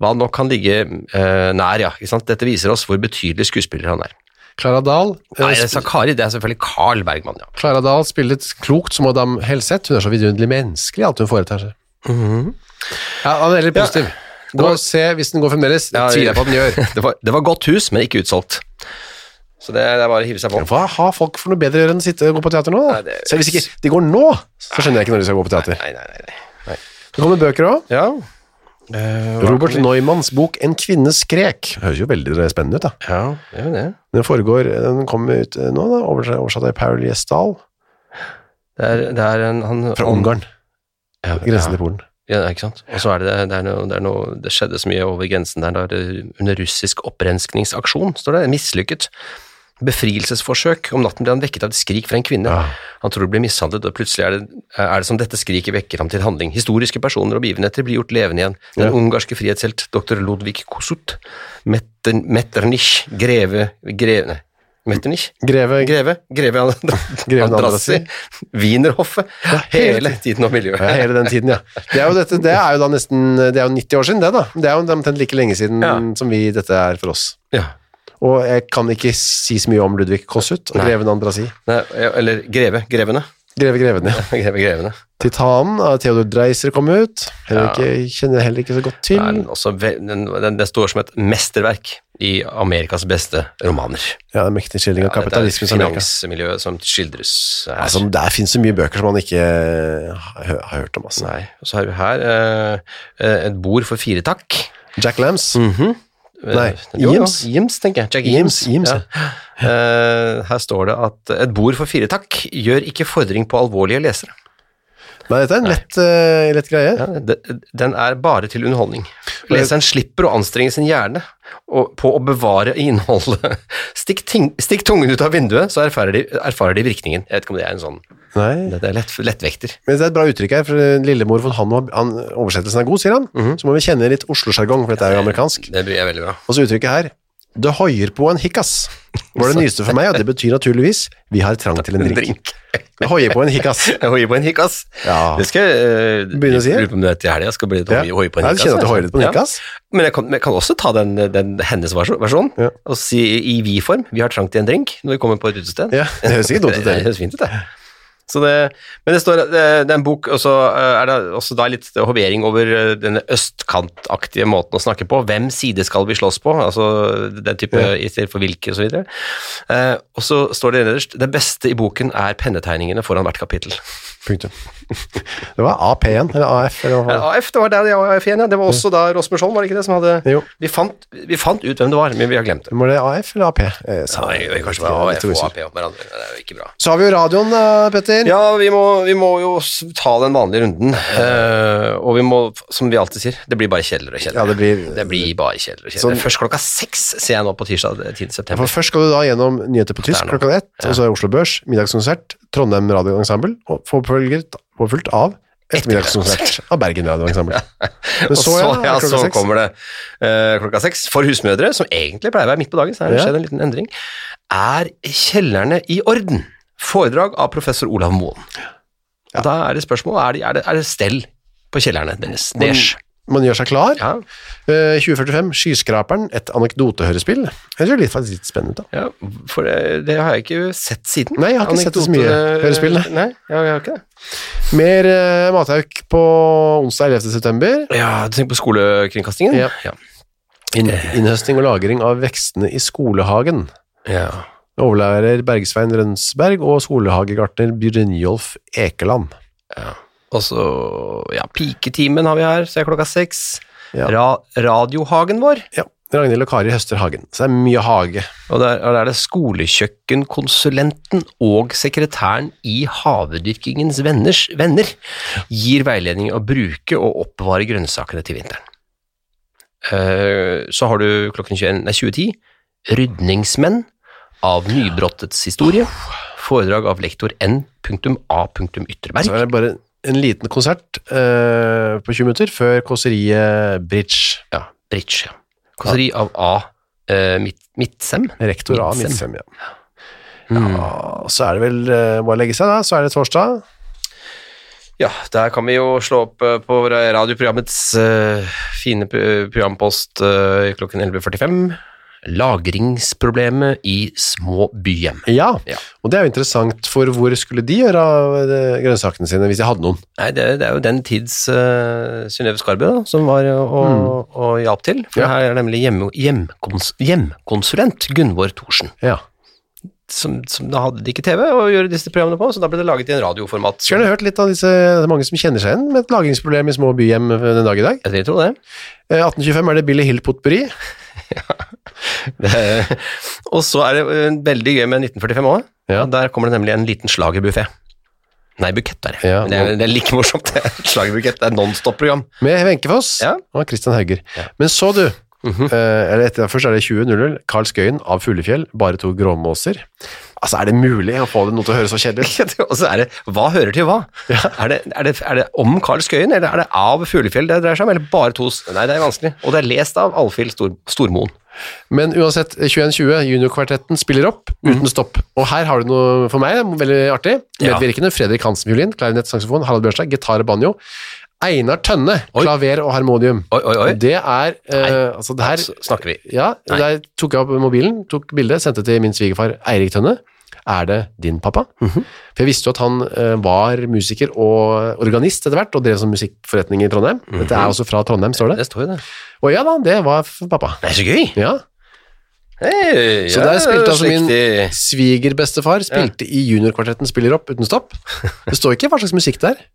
B: Hva nok kan ligge ø, nær, ja. Ikke sant? Dette viser oss hvor betydelig skuespiller han er.
A: Klara Dahl. eh,
B: Nei, jeg sa Kari, det er selvfølgelig Carl Bergman, ja.
A: Klara Dahl spillet klokt som Madame Helseth. Hun er så vidunderlig menneskelig i alt hun foretar seg. Mhm. Ja, han er veldig positiv. Gå og se hvis den går fremdeles. Det
B: Ja,
A: tviler jeg på at den gjør.
B: Det var, det var godt hus, men ikke utsolgt. Så det, det er bare å hive seg på.
A: Hva har folk for noe bedre å gjøre enn å sitte og gå på teater nå?
B: Nei,
A: Da?
B: det-
A: Selv hvis ikke de går nå, så skjønner jeg ikke når de skal gå på teater.
B: Nei, nei, nei. nei.
A: Det kommer bøker òg.
B: Ja.
A: Robert Neumanns bok 'En kvinne skrek'. Høres jo veldig spennende ut, da.
B: ja, det er jo det.
A: Den foregår, den kommer ut eh, nå, da, oversatt oversatt av Paul Gjesdal
B: Det er, det er en han,
A: fra
B: han-
A: Ungarn,
B: Ja,
A: grensen
B: ja.
A: til Polen.
B: Ja, ikke sant? Og så er det, det, er noe, det, er noe, det skjedde så mye over grensen der, der under russisk opprenskningsaksjon, står det, mislykket. Befrielsesforsøk. Om natten ble han vekket av et skrik fra en kvinne.
A: Ja.
B: Han tror det blir mishandlet, og plutselig er det, er det som dette skriket vekker ham til handling. Historiske personer og begivenheter blir gjort levende igjen. Den
A: Ja.
B: ungarske frihetshelt dr. Ludvig Kosut, Mettern- Metternich, greve, greve nei, Metternich?
A: Greve
B: Greve? Greve
A: Greven
B: Andrassi? Wienerhoffet?
A: hele
B: Hele tiden om miljøet.
A: Ja, hele den tiden, ja. Det er jo, dette, det er jo da nesten det er jo 90 år siden, det, da. Det er jo omtrent like lenge siden
B: Ja.
A: som vi, dette er for oss.
B: Ja.
A: Og jeg kan ikke si så mye om Ludvig Kåssut og
B: Nei.
A: Greven Andrasi.
B: Nei, eller Greve. Grevene.
A: Greve Greven, ja.
B: Greve Grevene.
A: Titanen av Theodor Dreiser kom ut. Heller ikke, kjenner jeg heller ikke så godt
B: Nei,
A: til.
B: men også, ve- den, den, det står som et mesterverk i Amerikas beste romaner.
A: Ja, en mektig skildring av
B: Ja, dette er et
A: kapitalismens Amerika.
B: Finansmiljøet som skildres her.
A: Altså, der finnes så mye bøker som man ikke har, har hørt om, altså.
B: Nei. Og så har vi her eh, eh, et bord for fire takk.
A: Jack Lambs.
B: Eh,
A: Nei,
B: jo,
A: Jims.
B: jo, Jims, tenker jeg. Jack
A: Jims,
B: Jims.
A: Jims, ja.
B: Eh, her står det at et bord for fire takk gjør ikke fordring på alvorlige lesere.
A: Nei, dette er en lett, eh, lett greie.
B: Ja, de- Den er bare til underholdning. Leseren slipper å anstrenge sin hjerne og- på å bevare innholdet. Stikk, ting, stikk tungen ut av vinduet, så erfarer de, erfarer de virkningen. Jeg vet ikke om det er en sånn
A: Nei.
B: Det er lett, lettvekter.
A: Men det er et bra uttrykk her, for eh, Lillemor von Hanno, han,
B: Mhm.
A: oversettelsen er god, sier han. Så må vi kjenne litt Oslo-sjargong, for dette er jo amerikansk.
B: Det blir jeg veldig bra.
A: Og så uttrykket her, Det høyer på en hikkas, var det nyeste for meg, og det betyr naturligvis vi har trang til en
B: En
A: drink.
B: drink.
A: Det høyer på en hikkas.
B: Hoi på en hikkas.
A: Ja.
B: Det skal jeg eh,
A: Begynne å si det.
B: Lurer på om det er til helga. Jeg skal bli litt
A: Ja.
B: hoi hoi på en
A: Nei,
B: hikkas.
A: du kjenner at du
B: altså.
A: høyer litt på en hikkas?
B: Ja. Men jeg kan, men jeg kan også ta den, den hennes versjon, versjon
A: Ja.
B: og si i vi-form. Vi har trang til en drink når vi kommer på et utested.
A: Ja, det høres ikke dumt ut,
B: det.
A: det.
B: høres fint ut, det. Så det, men det står det, det er en bok, og så eh, er det også da litt hovering over eh, denne østkantaktige måten å snakke på. Hvem side skal vi slåss på? Altså den type i stedet for hvilke, og så videre. Eh, og så står det nederst det beste i boken er pennetegningene foran hvert kapittel.
A: Punktum. Det var AP1, eller AF, eller hva?
B: Ja, AF, det var der det var AF igjen, ja. Det var også da Rasmus Holm, var det ikke det som hadde
A: Jo.
B: vi fant, vi fant ut hvem det var, men vi har glemt det.
A: Var det AF eller AP? Eh, sa
B: Nei,
A: jeg.
B: det er kanskje
A: Jeg er
B: bare
A: litt
B: AF og
A: usikker.
B: AP om hverandre. Det er jo ikke bra.
A: Så har vi jo radioen, eh, Petter.
B: Ja, vi må, vi må jo s- ta den vanlige runden, eh, og vi må, som vi alltid sier, det blir bare kjedeligere og
A: Ja,
B: kjedeligere.
A: det blir-
B: bare kjedeligere og kjedeligere.
A: Sånn-
B: Først klokka seks ser jeg nå på tirsdag 10.
A: For
B: september.
A: først skal du da gjennom nyheter på tysk
B: Det er noe.
A: klokka ett, og så er det Oslo Børs, middagskonsert, Trondheim Radioensemble, og forfølget, forfulgt av ettermiddagskonsert av Bergen Radioensemble. Men
B: Og så, ja,
A: klokka
B: så
A: seks.
B: kommer det eh, klokka seks. For husmødre, som egentlig pleier å være midt på dagen, så har det
A: Ja.
B: skjedd en liten endring. Er kjellerne i orden? Foredrag av professor Olav Moen. Og Da er det spørsmål er det, er det, er det stell på kjellerne deres. Deres.
A: Man gjør seg klar.
B: Ja,
A: Eh, 2045, Skyskraperen, et anekdotehørespill. Det ser jo litt, faktisk litt spennende ut da.
B: ja, for eh, det, det har jeg ikke sett siden.
A: Nei, jeg har ikke sett det så mye.
B: Anekdote-
A: Hørespill, nei.
B: Nei, jeg, jeg har ikke det.
A: Mer eh, matauk på onsdag 11. september.
B: Ja, du tenker på skolekringkastingen?
A: Ja.
B: ja.
A: Inn-
B: Eh.
A: innhøstning og lagring av vekstene i skolehagen.
B: ja.
A: Overlærer Bergsvein Rønsberg og skolehagegartner Brynjolf Ekeland.
B: Og så ja, piketimen har vi her, så er klokka seks.
A: Ja.
B: Ra radiohagen vår.
A: Ja, Ragnhild og Kari høster hagen. Så det er mye hage.
B: Og der, og der er det skolekjøkkenkonsulenten og sekretæren i Havedyrkingens venners venner gir veiledning å bruke og oppbevare grønnsakene til vinteren. Eh, Så har du klokken 21, nei, 2010 Rydningsmenn av nybrottets historie. Foredrag av lektor N.A.
A: Så
B: Ytterberg.
A: er det bare en liten konsert eh, på 20 minutter før kåseriet Bridge.
B: Ja, Bridge. ja. Kåseri av A. eh, Midt- Midtsem.
A: Rektor A.
B: Midtsem.
A: Midtsem, ja. Ja, så er det vel eh, bare å legge seg da, så er det torsdag.
B: Ja, der kan vi jo slå opp eh, på radioprogrammets eh, fine p- programpost eh, i klokken 11.45. Lagringsproblemet i små byhjem.
A: Ja.
B: Ja.
A: og det er jo interessant, for hvor skulle de gjøre av eh, grønnsakene sine hvis de hadde noen?
B: Nei, det, er- det er jo den tids uh, Synnøve Skarbø da, som var eh, og, og, og hjalp til. For
A: Ja.
B: her er nemlig hjemme, hjemkons, hjemkonsulent Gunvor Thorsen.
A: Ja.
B: Som, som da hadde de ikke TV å gjøre disse programmene på, så da ble det laget i en radioformat.
A: Skulle gjerne hørt litt av disse, det er mange som kjenner seg igjen med et lagringsproblem i små byhjem eh, den dag i dag.
B: Jeg vil tro det.
A: Eh, 1825 er det Billy Hill Potpourri.
B: Eh, og så er det eh, veldig gøy med 1945 òg.
A: Ja.
B: Der kommer det nemlig en liten slagerbuffé. Nei, bukett er det.
A: Ja,
B: det, er, det er like morsomt. det er Slagerbukett det er nonstop-program.
A: Med Wenche Foss
B: Ja. Mhm.
A: og Christian Hauger. Men så du, eh, eller etter, først er det 20.00, Karl Skøyen av Fuglefjell, bare to gråmåser. Altså, er det mulig å få det noe til å høre så kjedelig ut?
B: og så er det hva hører til hva? Er, det, er, det, er det om Karl Skøyen, eller er det av Fuglefjell det dreier seg om? Eller bare to s- Nei, det er vanskelig. Og det er lest av Alfhild Stor, Stormoen.
A: Men uansett, 21.20, juniorkvartetten spiller opp,
B: Mhm.
A: uten stopp. Og her har du noe for meg, veldig artig.
B: Ja.
A: Medvirkende, Fredrik Hansen, violin, klarinett, saksofon, Harald Børstad, gitar og banjo. Einar Tønne, klaver og harmonium.
B: Oi, oi, oi.
A: Og det er, eh, altså det her...
B: Så snakker vi.
A: Ja,
B: Nei.
A: der tok jeg opp mobilen, tok bildet, sendte til min svigerfar Eirik Tønne. Er det din pappa?
B: Mhm.
A: For jeg visste jo at han eh, var musiker og organist etter hvert, og drev som musikkforretning i Trondheim.
B: Mhm.
A: Dette er også fra Trondheim, står det.
B: Det står jo det.
A: Og ja da, det var f- pappa.
B: Det er så gøy!
A: Ja.
B: Hey,
A: Så
B: ja,
A: der spilte altså min
B: slektig.
A: svigerbestefar spilte i juniorkvartetten Spiller opp uten stopp. Det står ikke hva slags musikk det er.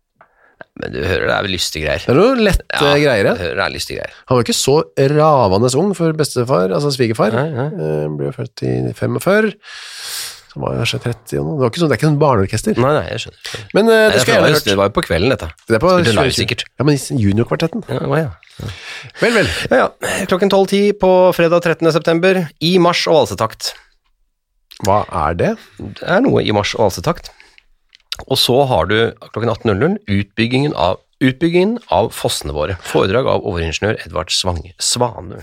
B: Men du hører det er vel lystige greier.
A: Det er noe lette
B: Ja,
A: eh, greier. ja.
B: du hører det er lystige greier.
A: Han var ikke så ravende ung for bestefar, altså svigerfar.
B: Nei, nei.
A: Eh, Ble jo født i 45, så var han kanskje 30 og noe. Det, var ikke sånn, det er ikke sånn barneorkester.
B: Nei, nei, jeg skjønner.
A: Men eh,
B: Nei,
A: det skal
B: det,
A: jeg
B: var,
A: gjerne
B: jo-
A: hørt.
B: det var jo på kvelden, dette.
A: Det er på
B: Spilte live,
A: 20.
B: sikkvarten.
A: Ja, men i juniorkvartetten.
B: Ja, det var, ja.
A: Vel, vel.
B: Ja, ja. Klokken 12.10 på fredag 13. september, i mars og valsetakt.
A: Hva er det?
B: Det er noe i mars og valsetakt. Og så har du klokken 18.00 utbyggingen av, utbyggingen av fossene våre. Foredrag av overingeniør Edvard Svange, Svanø.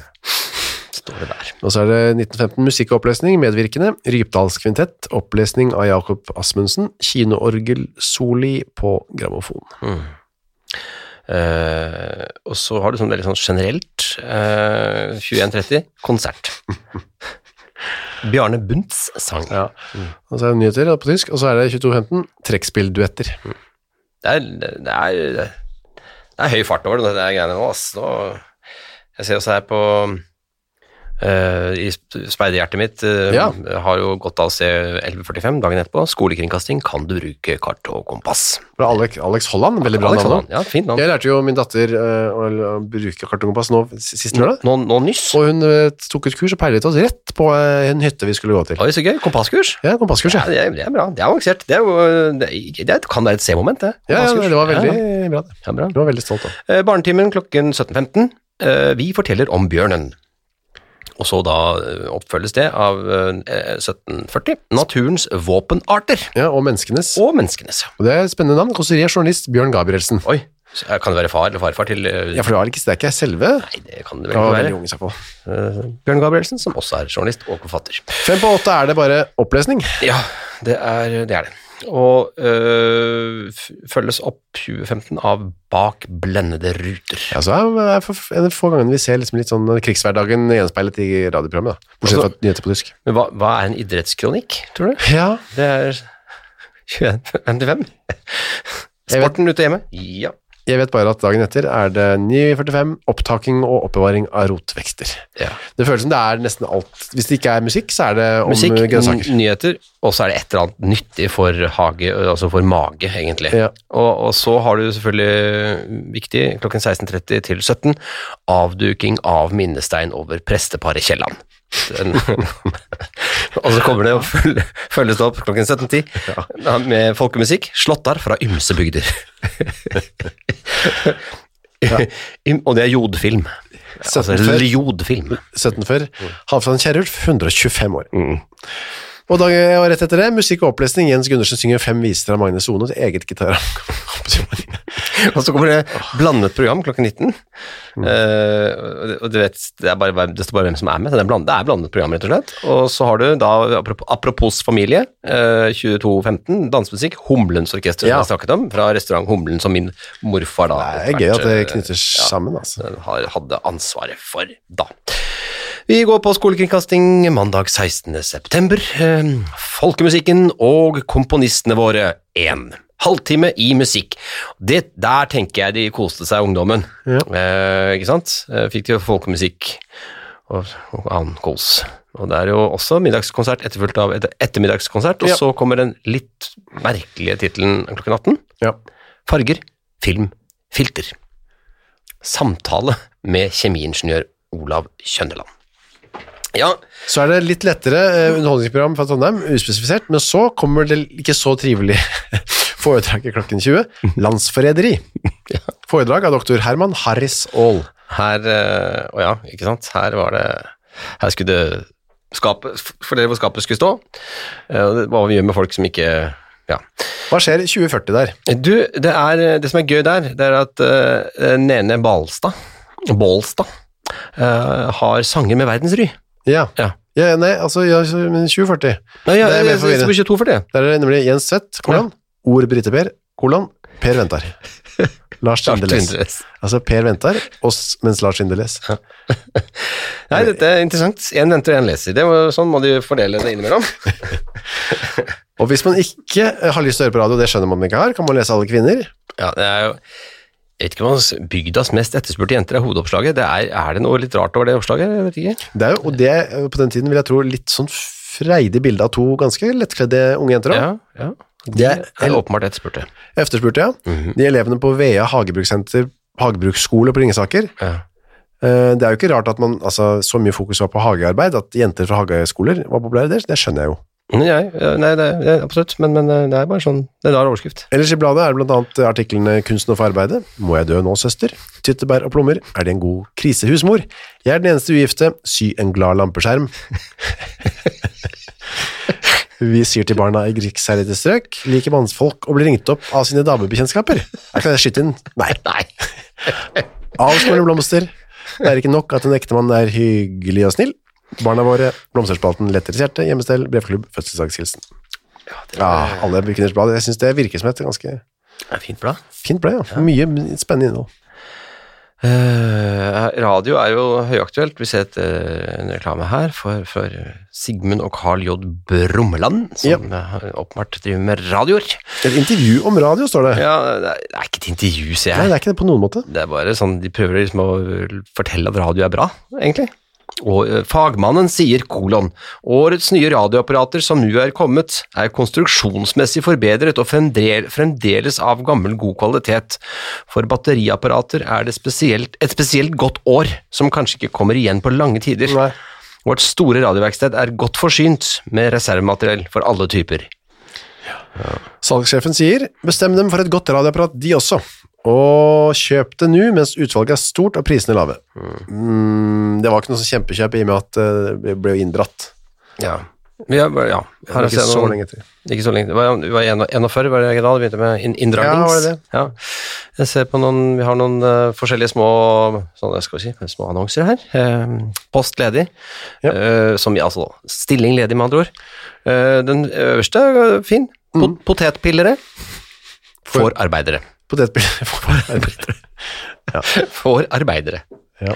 B: står det der.
A: Og så er det 1915 musikkopplesning, medvirkende, Rypdalskvintett, opplesning av Jakob Asmundsen, kinoorgel Soli på grammofon.
B: Eh, og så har du sånn veldig sånn generelt eh, 21.30, konsert. Bjarne Bundts sang.
A: Og så er det nyheter da, på tysk, og så er det 22.15, trekkspillduetter.
B: Det, er, det, er, det er høy fart over det der greiene nå, ass. Nå, jeg ser også her på eh, i sp- speiderhjertet mitt eh,
A: Ja.
B: har jo godt av å se 11.45 dagen etterpå. Skolekringkasting, kan du bruke kart og kompass?
A: Fra Alex, Alex Holland, veldig bra
B: Alex
A: navn.
B: Holland,
A: da.
B: Ja, fint navn.
A: Jeg lærte jo min datter eh, å å bruke kartongopass nå s- sist lørdag,
B: Nå, nå nyss.
A: og hun eh, tok et kurs og peilet oss rett på eh, en hytte vi skulle gå til.
B: Oi, så gøy. Kompasskurs.
A: Ja, kompasskurs,
B: Ja,
A: ja.
B: det er, det er bra. Det er avansert. Det, er jo, det, er- det kan være et C-moment, det.
A: Ja, ja,
B: Kompasskurs.
A: det var veldig
B: Ja,
A: bra. det.
B: ja, bra.
A: Hun var veldig stolt av.
B: Eh, Barnetimen klokken 17.15. Eh, Vi forteller om bjørnen. Og så da eh, oppfølges det av eh, 1740. Naturens våpenarter.
A: Ja, og menneskenes.
B: Og menneskenes.
A: Og det er et spennende navn, konserier journalist Bjørn Gabrielsen.
B: Oi, så, eh, kan det være far eller farfar til eh,
A: Ja, for det var ikke, det er ikke jeg selve.
B: Nei, det kan det
A: Det
B: vel
A: var
B: ikke
A: veldig
B: være.
A: ung i så fall.
B: Eh, Bjørn Gabrielsen, som også er journalist og forfatter.
A: Fem på åtte er det bare opplesning.
B: Ja, det er det. Er det. Og eh, f- følges opp 2015 av Bak blendede ruter.
A: Ja, så er er for- en av de få gangene vi ser liksom litt sånn krigshverdagen gjenspeilet i radioprogrammet. Da. Bortsett fra nyheter på tysk.
B: Men hva, hva er en idrettskronikk, tror du?
A: Ja,
B: Det er 21.55. Sporten ute og hjemme? Ja.
A: jeg vet bare at dagen etter er det 9.45, opptaking og oppbevaring av rotvekster.
B: Ja.
A: Det føles som det er nesten alt. Hvis det ikke er musikk, så er det om eh,
B: Musikk,
A: grønnsaker.
B: n- nyheter, og så er det et eller annet nyttig for hage, altså for mage, egentlig.
A: Ja.
B: Og, og så har du selvfølgelig eh, viktig, klokken 16.30 til 17, avduking av minnestein over presteparet Kielland. Den- og så kommer det og føl- følges det opp klokken 17.10 med folkemusikk. Slåttar fra ymse bygder. Ym- Og det er jodfilm. Altså
A: 17.40.
B: jodfilm.
A: 17 før. Halvdan Kjerulf, 125 år. Og, dag, og rett etter det, musikk og opplesning. Jens Gundersen synger fem viser av Magne Sone til eget gitar.
B: Og så kommer det blandet program klokken 19.
A: Mm.
B: Eh, og det- og du vet, det, er bare, hvem- det står bare hvem som er med. Så det, er blandet, det er blandet program, rett og slett. Og så har du da, apropos, apropos familie, eh, 22.15, dansemusikk, Humlens orkester,
A: Ja.
B: som jeg snakket om, fra restaurant Humlen, som min morfar da
A: Det er gøy at det knytter sammen, altså.
B: eh, har- hadde ansvaret for da. Vi går på skolekringkasting mandag 16. september. Eh, Folkemusikken og komponistene våre 1. Halvtime i musikk. Det, der tenker jeg de koste seg, ungdommen. Eh, ikke sant? Eh, Fikk de jo folkemusikk og, og annen kos. Og det er jo også middagskonsert etterfulgt av et ettermiddagskonsert, og
A: Ja.
B: så kommer den litt merkelige tittelen klokken 18.
A: Ja.
B: Farger, film, filter. Samtale med kjemiingeniør Olav Kjønneland. Ja,
A: Så er det litt lettere eh, underholdningsprogram fra Trondheim, uspesifisert, men så kommer det ikke så trivelig foredrag i klokken 20, landsforræderi. Foredrag av doktor Herman Harris Aall.
B: her eh, Å ja, ikke sant. Her var det Her skulle det skapet Fortelle hvor skapet skulle stå. Eh, og det- Hva vi gjør med folk som ikke Ja.
A: Hva skjer i 2040 der?
B: Du, det, er, det som er gøy der, det er at eh, Nene Balstad Bålstad eh, har sanger med verdensry.
A: Ja.
B: Ja.
A: ja nei, altså, ja, så- men 2040.
B: Nei, ja,
A: Det er mer
B: jeg, jeg, jeg,
A: forvirrende.
B: jeg, 22 for det.
A: Der er det nemlig Jens Tvedt, kolon, Ord Brite Per, kolon, Per Ventar. Lars Tindeles.
B: Tindres.
A: Altså Per Ventar, oss mens Lars Tindeles.
B: Nei, dette er interessant. Én venter, én leser. Det var, sånn må de fordele det innimellom.
A: Og hvis man ikke eh, har lyst til å høre på radio, det skjønner man ikke har, kan man lese alle kvinner.
B: Ja, det er jo jeg vet ikke om hans- Bygdas mest etterspurte jenter er hovedoppslaget. Det er, er det noe litt rart over det oppslaget? Jeg vet ikke.
A: Det er jo, og det eh, på den tiden vil jeg tro litt sånn freidig bilde av to ganske lettkledde unge jenter. da.
B: Ja, ja. Mhm.
A: Det er,
B: Det er åpenbart etterspurte.
A: efterspurte, ja. De elevene på Vea Hagebrukssenter, Hagebruksskole på Ringesaker.
B: Ja.
A: Eh, Det er jo ikke rart at man, altså, så mye fokus var på hagearbeid, at jenter fra hageskoler var populære der, det skjønner jeg jo.
B: Nei, ja, nei det, er- det er absolutt, men, men det er bare sånn Det er en rar overskrift.
A: Ellers i bladet er det blant annet artiklene Kunsten og forarbeidet, Må jeg dø nå, søster? Tyttebær og plommer, Er det en god krisehusmor? Jeg er den eneste ugifte, Sy en glad lampeskjerm. Vi syr til barna i krigsherjede strøk, liker mannsfolk og blir ringt opp av sine damebekjentskaper. Her kan jeg skyte inn. Nei.
B: Nei.
A: Avsmørende blomster. Det er ikke nok at en ektemann er hyggelig og snill. Barna våre, blomsterspalten, lettere hjerte, hjemmestell, brevklubb, fødselsdagshilsen.
B: Ja, det er,
A: Ja, alle Kvinners Blad. Jeg synes det virker som et ganske
B: det er fint blad.
A: fint blad, ja. Mye spennende innhold.
B: Eh, radio er jo høyaktuelt. Vi ser et, eh, en reklame her for, for Sigmund og Carl J. Brummeland, som eh, åpenbart driver med radioer.
A: Et intervju om radio, står det.
B: Ja, det er, det er ikke et intervju, ser
A: Nei,
B: jeg.
A: det er ikke det på noen måte.
B: Det er bare sånn, De prøver liksom å fortelle at radio er bra, egentlig. Og eh, fagmannen sier kolon. Årets nye radioapparater som nå er kommet, er konstruksjonsmessig forbedret og fremdel- fremdeles av gammel god kvalitet. For batteriapparater er det spesielt, et spesielt godt år, som kanskje ikke kommer igjen på lange tider.
A: Nei.
B: Vårt store radioverksted er godt forsynt med reservemateriell for alle typer.
A: Salgssjefen sier, bestem dem for et godt radioapparat, de også. Og kjøp det nå, mens utvalget er stort og prisene lave. Mm, det var ikke noe sånn kjempekjøp i og med at eh, det ble jo inndratt.
B: Ja.
A: Det
B: Ja, ja.
A: var
B: Her ser
A: ikke
B: jeg
A: så
B: noen-
A: lenge til.
B: Ikke så lenge. Det var, det var en- 41, var det ikke da du begynte med inn- inndragnings?
A: Ja, var det det?
B: Ja. Jeg ser på noen, vi har noen eh, forskjellige små, sånn, skal vi si, små annonser her. Eh, post ledig,
A: Ja.
B: eh, som altså stilling ledig med andre ord. Eh, den øverste er eh, fin. Pot Potetpillere for arbeidere.
A: Potetpiller for arbeidere.
B: For arbeidere.
A: Ja.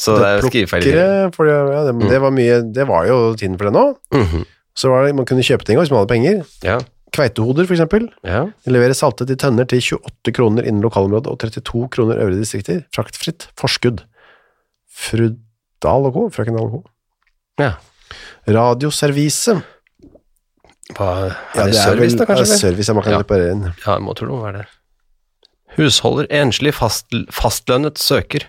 B: Så det er skrivefeil. i det. Mm.
A: Plukkere, for det, ja, det, det, var mye, det var jo tiden for det nå.
B: Mhm.
A: Så var det, man kunne kjøpe ting også, hvis man hadde penger.
B: Ja,
A: Kveitehoder, for eksempel.
B: ja.
A: De leverer saltet i tønner til 28 kroner innen lokalområdet og 32 kroner øvrige distrikter. Fraktfritt. Forskudd. Frudal og co. Frøken Dahl og co.
B: ja.
A: Radioservise.
B: Hva, er
A: Ja,
B: det, service da, kanskje?
A: ja,
B: eller?
A: service, ja, man kan
B: Ja.
A: reparere den.
B: Ja, jeg må tro det var det. Husholder, enslig, fast, fastlønnet søker.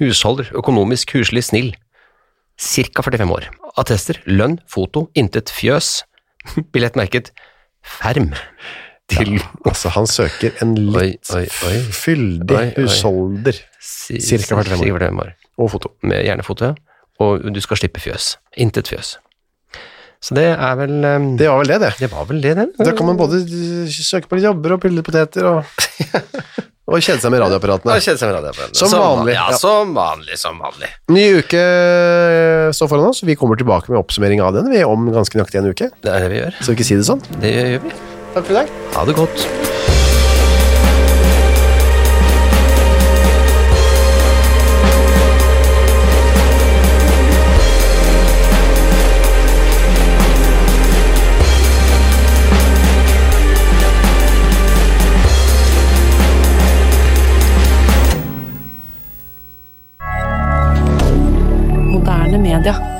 B: Husholder, økonomisk, huslig, snill. Cirka 45 år. Attester, lønn, foto, intet fjøs. Billett merket Ferm. Til
A: Altså, han søker en litt
B: Oi, oi, oi.
A: fyldig
B: Oi, oi.
A: husholder.
B: si-
A: Cirka 45 år.
B: cirka 45 år.
A: Og foto.
B: Med hjernefoto, ja. Og du skal slippe fjøs. Intet fjøs. Så det er vel eh,
A: Det var vel det, det.
B: Det var vel det, det.
A: Da kan man både eh, søke på litt jobber og pille poteter og, og kjede seg med radioapparatene.
B: Ja, kjenne seg med radioapparatet.
A: Som vanlig,
B: Ja,
A: ja.
B: som vanlig, som vanlig.
A: Ny uke eh, står foran oss. Vi kommer tilbake med oppsummering av den vi er om ganske nøyaktig en uke.
B: Det er det vi gjør.
A: Så ikke si det sånn.
B: Det gjør vi.
A: Takk for i dag.
B: Ha det godt.
E: Moderne media.